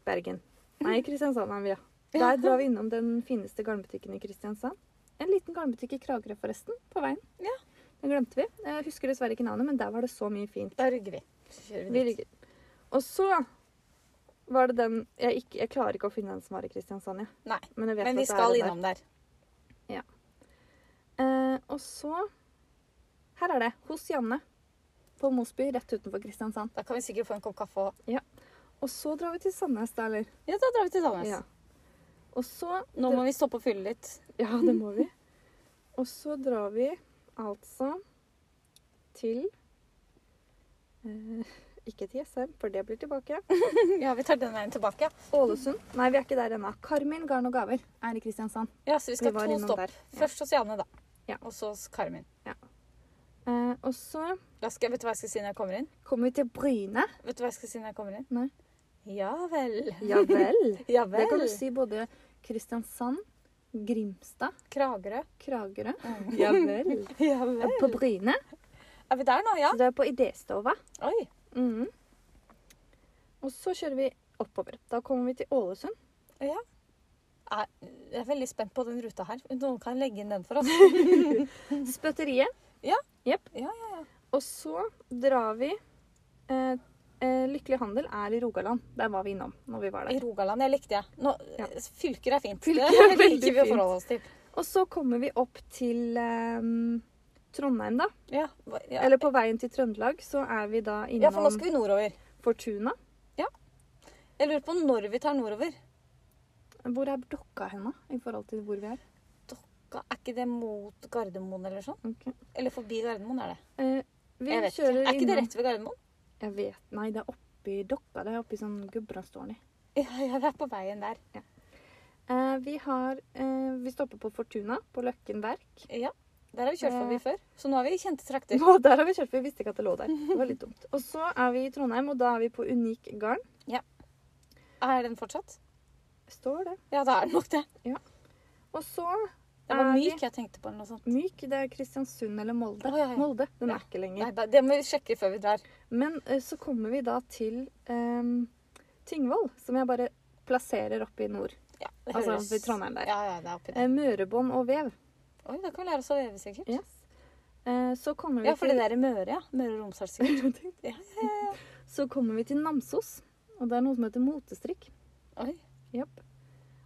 B: Bergen. Nei, Kristiansand er vi, ja. Der drar vi innom den fineste garnbutikken i Kristiansand. En liten garnbutikk i Kragerø, forresten, på veien.
A: Ja.
B: Den glemte vi. Jeg husker dessverre ikke navnet, men der var det så mye fint.
A: Da rygger vi. Så kjører vi
B: Vi
A: dit.
B: rygger. Og så var det den jeg, ikke, jeg klarer ikke å finne den som var i Kristiansand, jeg.
A: Nei,
B: Men, jeg vet
A: Men
B: at
A: vi
B: det er
A: skal
B: den der.
A: innom der.
B: Eh, og så Her er det. Hos Janne. På Mosby, rett utenfor Kristiansand.
A: Da kan vi sikkert få en kopp kaffe òg.
B: Og så drar vi til Sandnes, da, eller?
A: Ja, da drar vi til Sandnes.
B: Ja. Og så
A: Nå må vi stoppe og fylle litt.
B: *laughs* Ja, det må vi. Og så drar vi altså til eh, Ikke til Jessheim, for det blir tilbake.
A: *laughs* Ja, vi tar den veien tilbake.
B: Ålesund. Nei, vi er ikke der ennå. Karmin garn og gaver er i Kristiansand.
A: Ja, så vi skal
B: Vi var
A: to
B: innom
A: stopp.
B: der, ja.
A: Først hos Janne, da.
B: Ja.
A: Og så hos Karmin.
B: Eh, og så
A: Da skal, jeg- vet du hva jeg skal si når jeg kommer inn?
B: Kommer vi til Bryne?
A: Vet du hva jeg skal si når jeg kommer inn?
B: Nei.
A: Ja vel. *laughs*
B: Ja vel.
A: Ja vel.
B: Det kan du si både Kristiansand, Grimstad,
A: Kragerø.
B: Kragerø. Ja vel.
A: Mm. *laughs* Ja *laughs* vel.
B: På Bryne.
A: Er vi der nå, ja?
B: Så det er på idéstova.
A: Oi.
B: Mhm. Og så kjører vi oppover. Da kommer vi til
A: *laughs*
B: Ålesund.
A: Er- Jeg er veldig spent på den ruta her. Noen kan legge inn den for
B: *laughs*
A: oss.
B: Spøtteriet.
A: Ja.
B: Jepp.
A: Ja,
B: Og så drar vi eh, eh, Lykkelig handel er i Rogaland. Der var vi innom når vi var
A: I
B: der.
A: Rogaland. Jeg likte jeg. Nå, eh,
B: Ja.
A: Fylker er fint.
B: Fylker er
A: det *laughs*
B: veldig
A: liker vi å
B: fint.
A: forholde oss til.
B: Og så kommer vi opp til eh, Trondheim, da.
A: Ja, hva- ja.
B: Eller på veien til Trøndelag så er vi da innom
A: ja, for nå skal vi nordover.
B: Fortuna.
A: Jeg lurer på når vi tar nordover.
B: Hvor er Dokka hen, da? I forhold til hvor vi er.
A: Ga- Er ikke det mot Gardermoen eller sånn?
B: Ok.
A: Eller forbi Gardermoen er det.
B: Eh, vi
A: Jeg vet ikke.
B: kjører
A: Er ikke det
B: innom-
A: rett ved Gardermoen?
B: Jeg vet. Nei, det er oppi Dokka. Det er oppi sånn Gudbrandsdalen.
A: Ja, ja, det er på veien der.
B: Eh, vi har eh, Vi stopper på Fortuna, på Løkken verk.
A: Ja, Der har vi kjørt forbi
B: Eh.
A: før. Så nå er vi i kjente trakter.
B: Nå, der har vi kjørt, for vi visste ikke at det lå der. Det var litt dumt. Og så er vi i Trondheim, og da er vi på Unik Garn.
A: Er den fortsatt?
B: Står det.
A: Ja, da er den nok det.
B: Og så
A: Det var
B: Er vi-
A: myk jeg tenkte på. eller noe sånt.
B: Myk, det er Kristiansund eller Molde.
A: Å, ja, ja.
B: Molde. Den
A: Ja.
B: er ikke lenger.
A: Nei, da- Det må vi sjekke før vi drar.
B: Men eh, så kommer vi da til eh, Tingvoll, som jeg bare plasserer oppe i nord.
A: Ja, det
B: Altså,
A: høres-
B: ved Trondheim der.
A: Ja, ja, det er oppi der.
B: Eh, Mørebånd og vev.
A: Oi, da kan vi lære oss å veve, sikkert.
B: Ja. Eh, så kommer vi
A: Ja, for det
B: til
A: der er Møre, ja. Møre og Romsdal,
B: *laughs*
A: sikkert. Ja,
B: Så kommer vi til Namsos, og det er noe som heter motestrikk.
A: Oi.
B: Japp.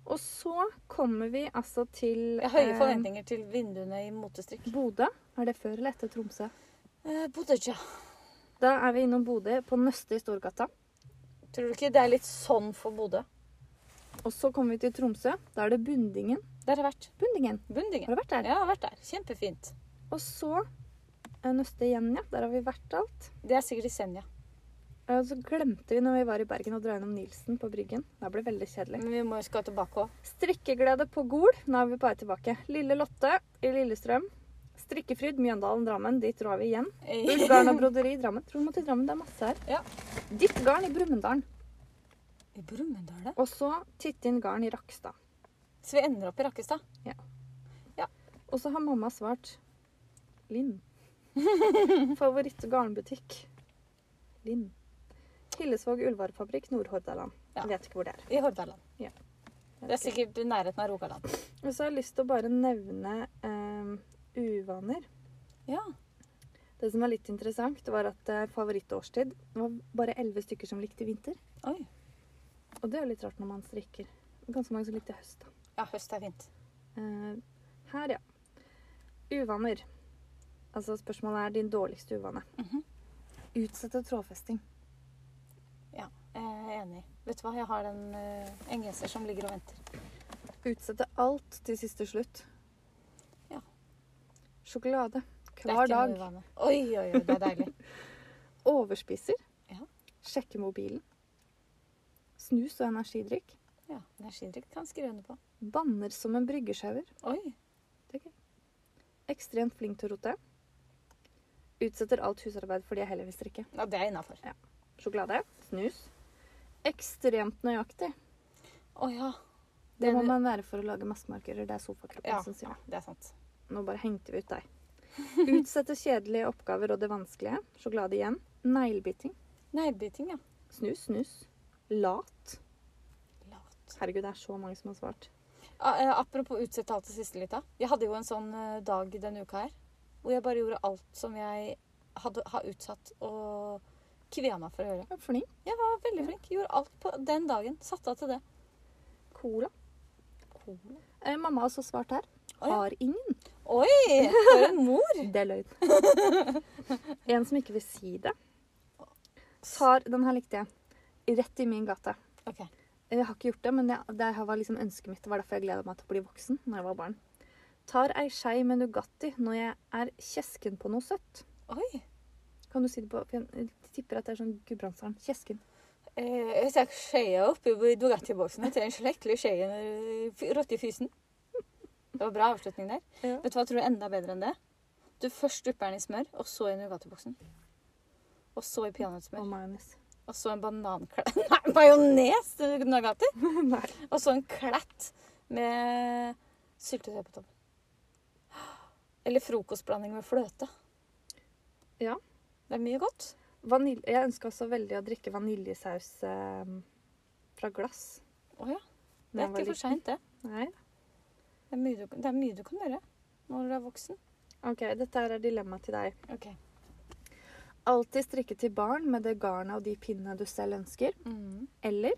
B: Og så kommer vi altså til
A: Jeg har høye
B: eh,
A: forventninger til vinduene i motestrikk.
B: Bodø. Er det før eller etter Tromsø?
A: Eh, Bodø, ja.
B: Da er vi innom Bodø, på Nøste i Storgata.
A: Tror du ikke det er litt sånn for Bodø?
B: Og så kommer vi til Tromsø. Da er det Bundingen.
A: Der har jeg vært.
B: Bundingen,
A: Bundingen.
B: har du vært
A: Ja,
B: der?
A: jeg har vært der. Kjempefint.
B: Og så eh, Nøste igjen, ja. Der har vi vært alt.
A: Det er sikkert i Senja.
B: Eh, Og så glemte vi når vi var i Bergen å dra innom Nilsen på Bryggen. Det ble veldig kjedelig.
A: Men vi må jo skal tilbake òg.
B: Strikkeglede på Gol. Nå er vi på vei tilbake. Lille Lotte i Lillestrøm. Strikkefryd, Mjøndalen, Drammen. Dit drar
A: *laughs*
B: vi igjen. Ullgarn og broderi i Drammen. Tror du må til Drammen, det er masse her.
A: Ja.
B: Ditt garn i Brumunddalen.
A: *laughs* I Brumunddal, da?
B: Og så titt inn garn i Rakstad.
A: Så vi ender opp i Rakkestad.
B: Og så har mamma svart
A: *laughs*
B: Linn. Favorittgarnbutikk. Linn. Hillesvåg ullvarefabrikk, Nordhordaland.
A: Ja.
B: Jeg vet ikke hvor det er.
A: I Hordaland.
B: Jeg
A: Det er
B: vet ikke.
A: sikkert i nærheten av Rogaland.
B: Og så har jeg lyst til å bare nevne eh, uvaner.
A: Ja.
B: Det som var litt interessant, var at eh, favorittårstid det var bare elleve stykker som likte vinter.
A: Oi.
B: Og det er jo litt rart når man strikker. Ganske mange som likte høst. da.
A: Ja, høst er fint.
B: Eh, her, ja. Uvaner. Altså spørsmålet er din dårligste uvane.
A: Mhm.
B: Utsette trådfesting.
A: Jeg er Eh, enig. Vet du hva, jeg har en, eh, en genser som ligger og venter.
B: Utsette alt til siste slutt.
A: Ja.
B: Sjokolade.
A: Det er
B: Hver
A: ikke noe
B: dag.
A: uvane. Oi, oi, oi, det er deilig.
B: Overspiser.
A: Ja.
B: Sjekke mobilen. Snus og energidrikk.
A: *laughs* Ja, Energidrikk kan jeg skrive under på.
B: Banner som en bryggesjauer.
A: Oi.
B: Ekstremt flink til å rote. Utsetter alt husarbeid fordi jeg heller vil strikke.
A: Ja, det er innafor.
B: Sjokolade. Snus. Ekstremt nøyaktig.
A: Å ja.
B: Det må
A: Det-
B: man være for å lage massemarkører. Det er sofakroppen
A: Ja,
B: som sier det.
A: det er sant.
B: Nå bare hengte vi ut deg. Utsette kjedelige oppgaver og det vanskelige. Sjokolade igjen. Neglebiting.
A: Neglebiting, ja.
B: Snus, snus. Lat.
A: Lat.
B: Herregud, det er så mange som har svart.
A: A- eh, Apropos utsette alt til siste lita. Jeg hadde jo en sånn eh, dag denne uka her hvor jeg bare gjorde alt som jeg hadde, har utsatt og kvia meg for å gjøre.
B: Ja, Flink.
A: Jeg var veldig flink. Gjorde alt på den dagen. Satte av til det.
B: Cola.
A: Cola.
B: Eh, mamma har også svart her.
A: Å, ja.
B: Har ingen.
A: Oi! For en mor!
B: Det er løgn. en som ikke vil si det. Tar Den her likte jeg. Rett i min gate.
A: *laughs* Ok.
B: Jeg har ikke gjort det, men det, det her var liksom ønsket mitt. Det var derfor jeg gleda meg til å bli voksen når jeg var barn. Tar ei skei med Nugatti når jeg er kjesken på noe søtt.
A: Oi.
B: Kan du si det på for Jeg tipper at det er sånn Gudbrandsdalen. Kjesken.
A: Eh, jeg stakk skjea oppi Bugatti-boksen til en slektelig skje i eh, f- rotte i fysen. Det var bra avslutning der.
B: Ja.
A: Vet du hva jeg tror er enda bedre enn det? Du først dupper den i smør, og så i Nugatti-boksen. Og så i
B: Og
A: peanøttsmør. *laughs*
B: majones.
A: Og så en bananklett *laughs* Nei, majones! Nagati!
B: Nei.
A: Og så en klett med syltetøy på toppen. Eller frokostblanding med fløte.
B: Ja.
A: Det er mye godt.
B: Vanilje. Jeg ønsker også veldig å drikke vaniljesaus eh, fra glass.
A: Å ja. Det
B: når
A: er
B: jeg
A: ikke for
B: var liten.
A: seint, det.
B: Nei.
A: Det er, mye du, det er mye du kan gjøre når du er voksen.
B: OK, dette her er dilemmaet til deg.
A: Ok.
B: Alltid strikke til barn med det garnet og de pinnene du selv ønsker. Eller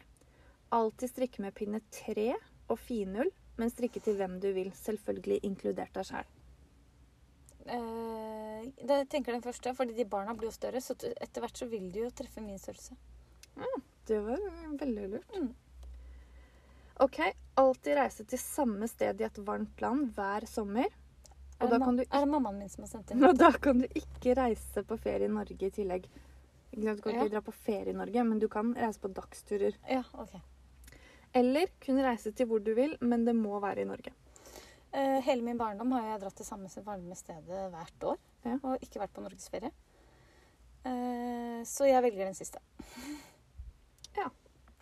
B: alltid strikke med pinne 3 og finull, men strikke til hvem du vil. Selvfølgelig inkludert deg sjæl.
A: Eh, det, jeg tenker den første, fordi de barna blir jo større, så t- etter hvert så vil de jo treffe min størrelse.
B: Det var eh, veldig lurt.
A: Mm.
B: OK. Alltid reise til samme sted i et varmt land hver sommer. Og
A: Er,
B: da
A: det ma-
B: kan du
A: er det mammaen min som har
B: *laughs*
A: sendt inn?
B: Og da kan du ikke reise på ferie i Norge i tillegg. Ikke sant? Du kan ikke dra på ferie i Norge, men du kan reise på dagsturer.
A: Ja, ok.
B: Eller kunne reise til hvor du vil, men det må være i Norge.
A: Eh, hele min barndom har jeg dratt til samme s- varme stedet hvert år.
B: Ja.
A: Og ikke vært på norgesferie. Eh, så jeg velger den siste.
B: Ja.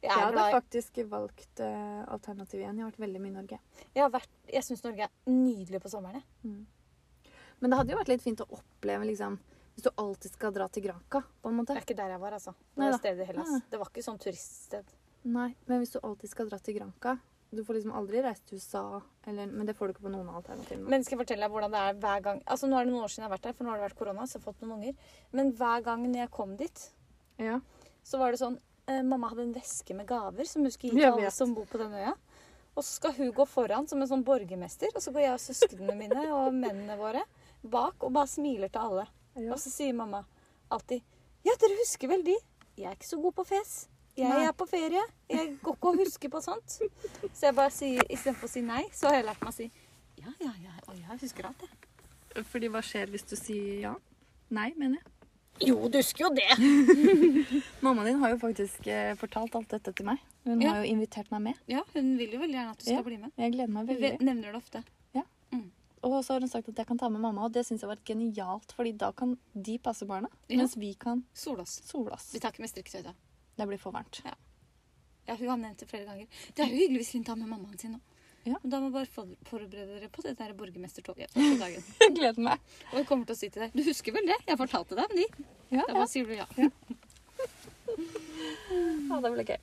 A: Jeg,
B: Jeg
A: er
B: hadde
A: glad i-
B: faktisk valgt eh, alternativ 1. Jeg har vært veldig mye i Norge.
A: jeg, har vært- jeg syns Norge er nydelig på sommeren. jeg.
B: Men det hadde jo vært litt fint å oppleve, liksom, hvis du alltid skal dra til Granca, på en måte.
A: Det er ikke der jeg var, altså. Det
B: Nei
A: var
B: da.
A: et sted i Hellas.
B: Nei.
A: Det var ikke sånn turiststed.
B: Nei, men hvis du alltid skal dra til Granca Du får liksom aldri reise til USA, eller, men det får du ikke på noen av alternativene.
A: Men skal jeg fortelle deg hvordan det er hver gang Altså Nå er det noen år siden jeg har vært der, for nå har det vært korona. så jeg har fått noen unger. Men hver gang når jeg kom dit,
B: Ja.
A: så var det sånn eh, Mamma hadde en veske med gaver som hun skulle gi
B: Jeg
A: til alle
B: vet.
A: som bor på den øya. Og så skal hun gå foran som en sånn borgermester, og så går jeg og søsknene mine og mennene våre bak og bare smiler til alle.
B: Ja.
A: Og så sier mamma alltid Ja, dere husker vel de? Jeg er ikke så god på fes. Jeg
B: Nei.
A: er på ferie. Jeg går ikke og husker på sånt. Så jeg bare sier, istedenfor å si nei, så har jeg lært meg å si ja, ja, ja. Og jeg husker alt, jeg.
B: Fordi hva skjer hvis du sier ja? Nei, mener jeg.
A: Jo, du husker jo det.
B: Mammaen din har jo faktisk eh, fortalt alt dette til meg. Hun
A: Ja.
B: har jo invitert meg med.
A: Ja, hun vil jo veldig gjerne at du skal
B: Ja.
A: bli med.
B: Jeg gleder meg
A: Hun ve-
B: veldig.
A: nevner det ofte.
B: Og så har hun sagt at jeg kan ta med mamma, og det syns jeg var genialt. fordi da kan de passe barna,
A: Ja.
B: mens vi kan
A: Solås.
B: sole oss.
A: Vi tar ikke med strikketøy, da.
B: Det blir for
A: *laughs*
B: varmt.
A: Ja, hun har nevnt det flere ganger. Det er jo hyggelig hvis hun tar med mammaen sin nå.
B: Ja.
A: Men da må bare for- forberede dere på det der borgermestertoget første dagen.
B: Jeg gleder meg.
A: Og hun kommer til å si til deg Du husker vel det? Jeg fortalte deg om de.
B: Ja,
A: Da
B: ja.
A: bare sier du ja.
B: ja det blir gøy.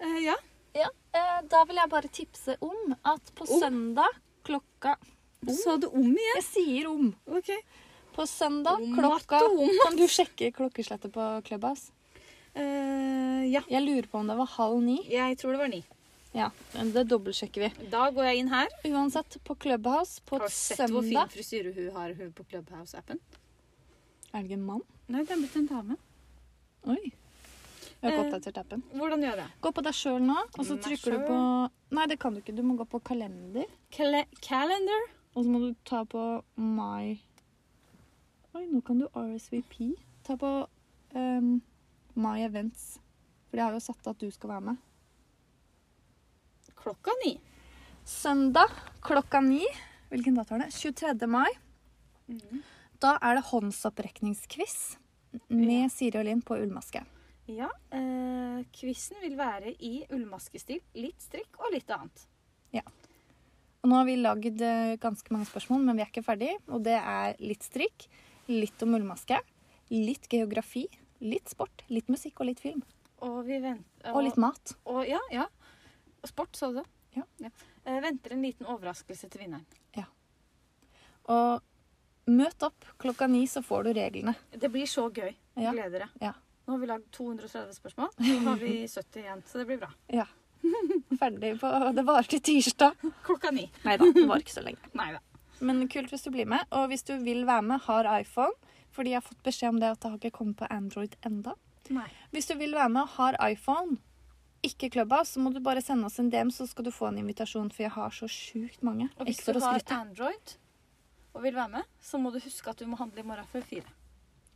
A: Eh, ja.
B: Ja, eh, da vil jeg bare tipse om at på
A: Om?
B: søndag klokka
A: Sa du om igjen?
B: Jeg sier om.
A: Ok. Eh,
B: På søndag
A: Om
B: klokka
A: at om
B: Kan du sjekke klokkeslettet på Clubhouse?
A: Eh, ja.
B: Jeg lurer på om det var halv ni.
A: Jeg tror det var ni.
B: Ja, men Det dobbeltsjekker vi.
A: Da går jeg inn her.
B: Uansett, på Clubhouse på
A: Har du sett hvor fin
B: søndag
A: frisyre hun har hun på Clubhouse-appen?
B: Er det ikke en mann?
A: Nei, det er blitt en dame.
B: Oi. Jeg har
A: Eh.
B: ikke oppdatert appen.
A: Hvordan gjør jeg det?
B: Gå på deg sjøl nå, og så
A: Meg
B: trykker du
A: selv.
B: på Nei, det kan du ikke. Du må gå på kalender,
A: Kle- calendar.
B: og så må du ta på my Oi, nå kan du RSVP. Ta på ehm, my events. For de har jo satt at du skal være med.
A: Klokka ni.
B: Søndag klokka ni. Hvilken dato er det? 23. mai.
A: Mm.
B: Da er det håndsopprekningsquiz med Siri og Linn på ullmaske.
A: Ja. Eh, quizen vil være i ullmaskestil. Litt strikk og litt annet.
B: Og nå har vi lagd eh, ganske mange spørsmål, men vi er ikke ferdig. Og det er litt strikk, litt om ullmaske, litt geografi, litt sport, litt musikk og litt film.
A: Og vi venter
B: Og litt mat.
A: og, Ja, ja. Og sport, så du det?
B: Ja.
A: Eh, venter en liten overraskelse til vinneren.
B: Og møt opp klokka ni, så får du reglene.
A: Det blir så gøy.
B: Ja.
A: Gleder dere.
B: Ja.
A: Nå har vi lagd 230 spørsmål. Nå har vi
B: *laughs*
A: 70 igjen, så det blir bra.
B: Ja. *laughs* Ferdig på Det varer til tirsdag.
A: Klokka ni.
B: Nei da, *laughs* det var ikke så lenge.
A: Nei da.
B: Men kult hvis du blir med. Og hvis du vil være med, har iPhone. Fordi jeg har fått beskjed om det at det har ikke kommet på Android enda.
A: Nei.
B: Hvis du vil være med og har iPhone, ikke Clubhouse, så må du bare sende oss en DM, så skal du få en invitasjon, for jeg har så sjukt mange.
A: Og hvis
B: Ikke for
A: du
B: å
A: har
B: skryte.
A: Android og vil være med, så må du huske at du må handle i morgen før fire.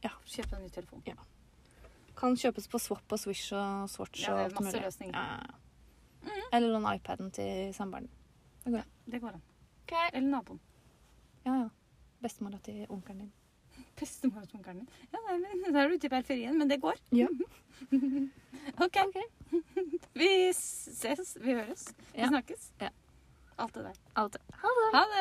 B: Ja.
A: Kjøpe en ny telefon.
B: Kan kjøpes på Swap og Swish og Swatch
A: Ja,
B: og
A: det er
B: alt
A: masse
B: mulig.
A: løsninger.
B: Ja. Eller låne iPaden til samboeren.
A: Det går an.
B: Okay.
A: Eller naboen.
B: Ja, ja. Bestemora til onkelen din.
A: Bestemor hos onkelen min. Ja, nei, men da er du ute i periferien, men det går.
B: Ja.
A: OK. *laughs* Vi ses. Vi høres. Vi
B: Ja.
A: snakkes.
B: Ja.
A: Alt det der.
B: Alt. Ha det!
A: Ha det!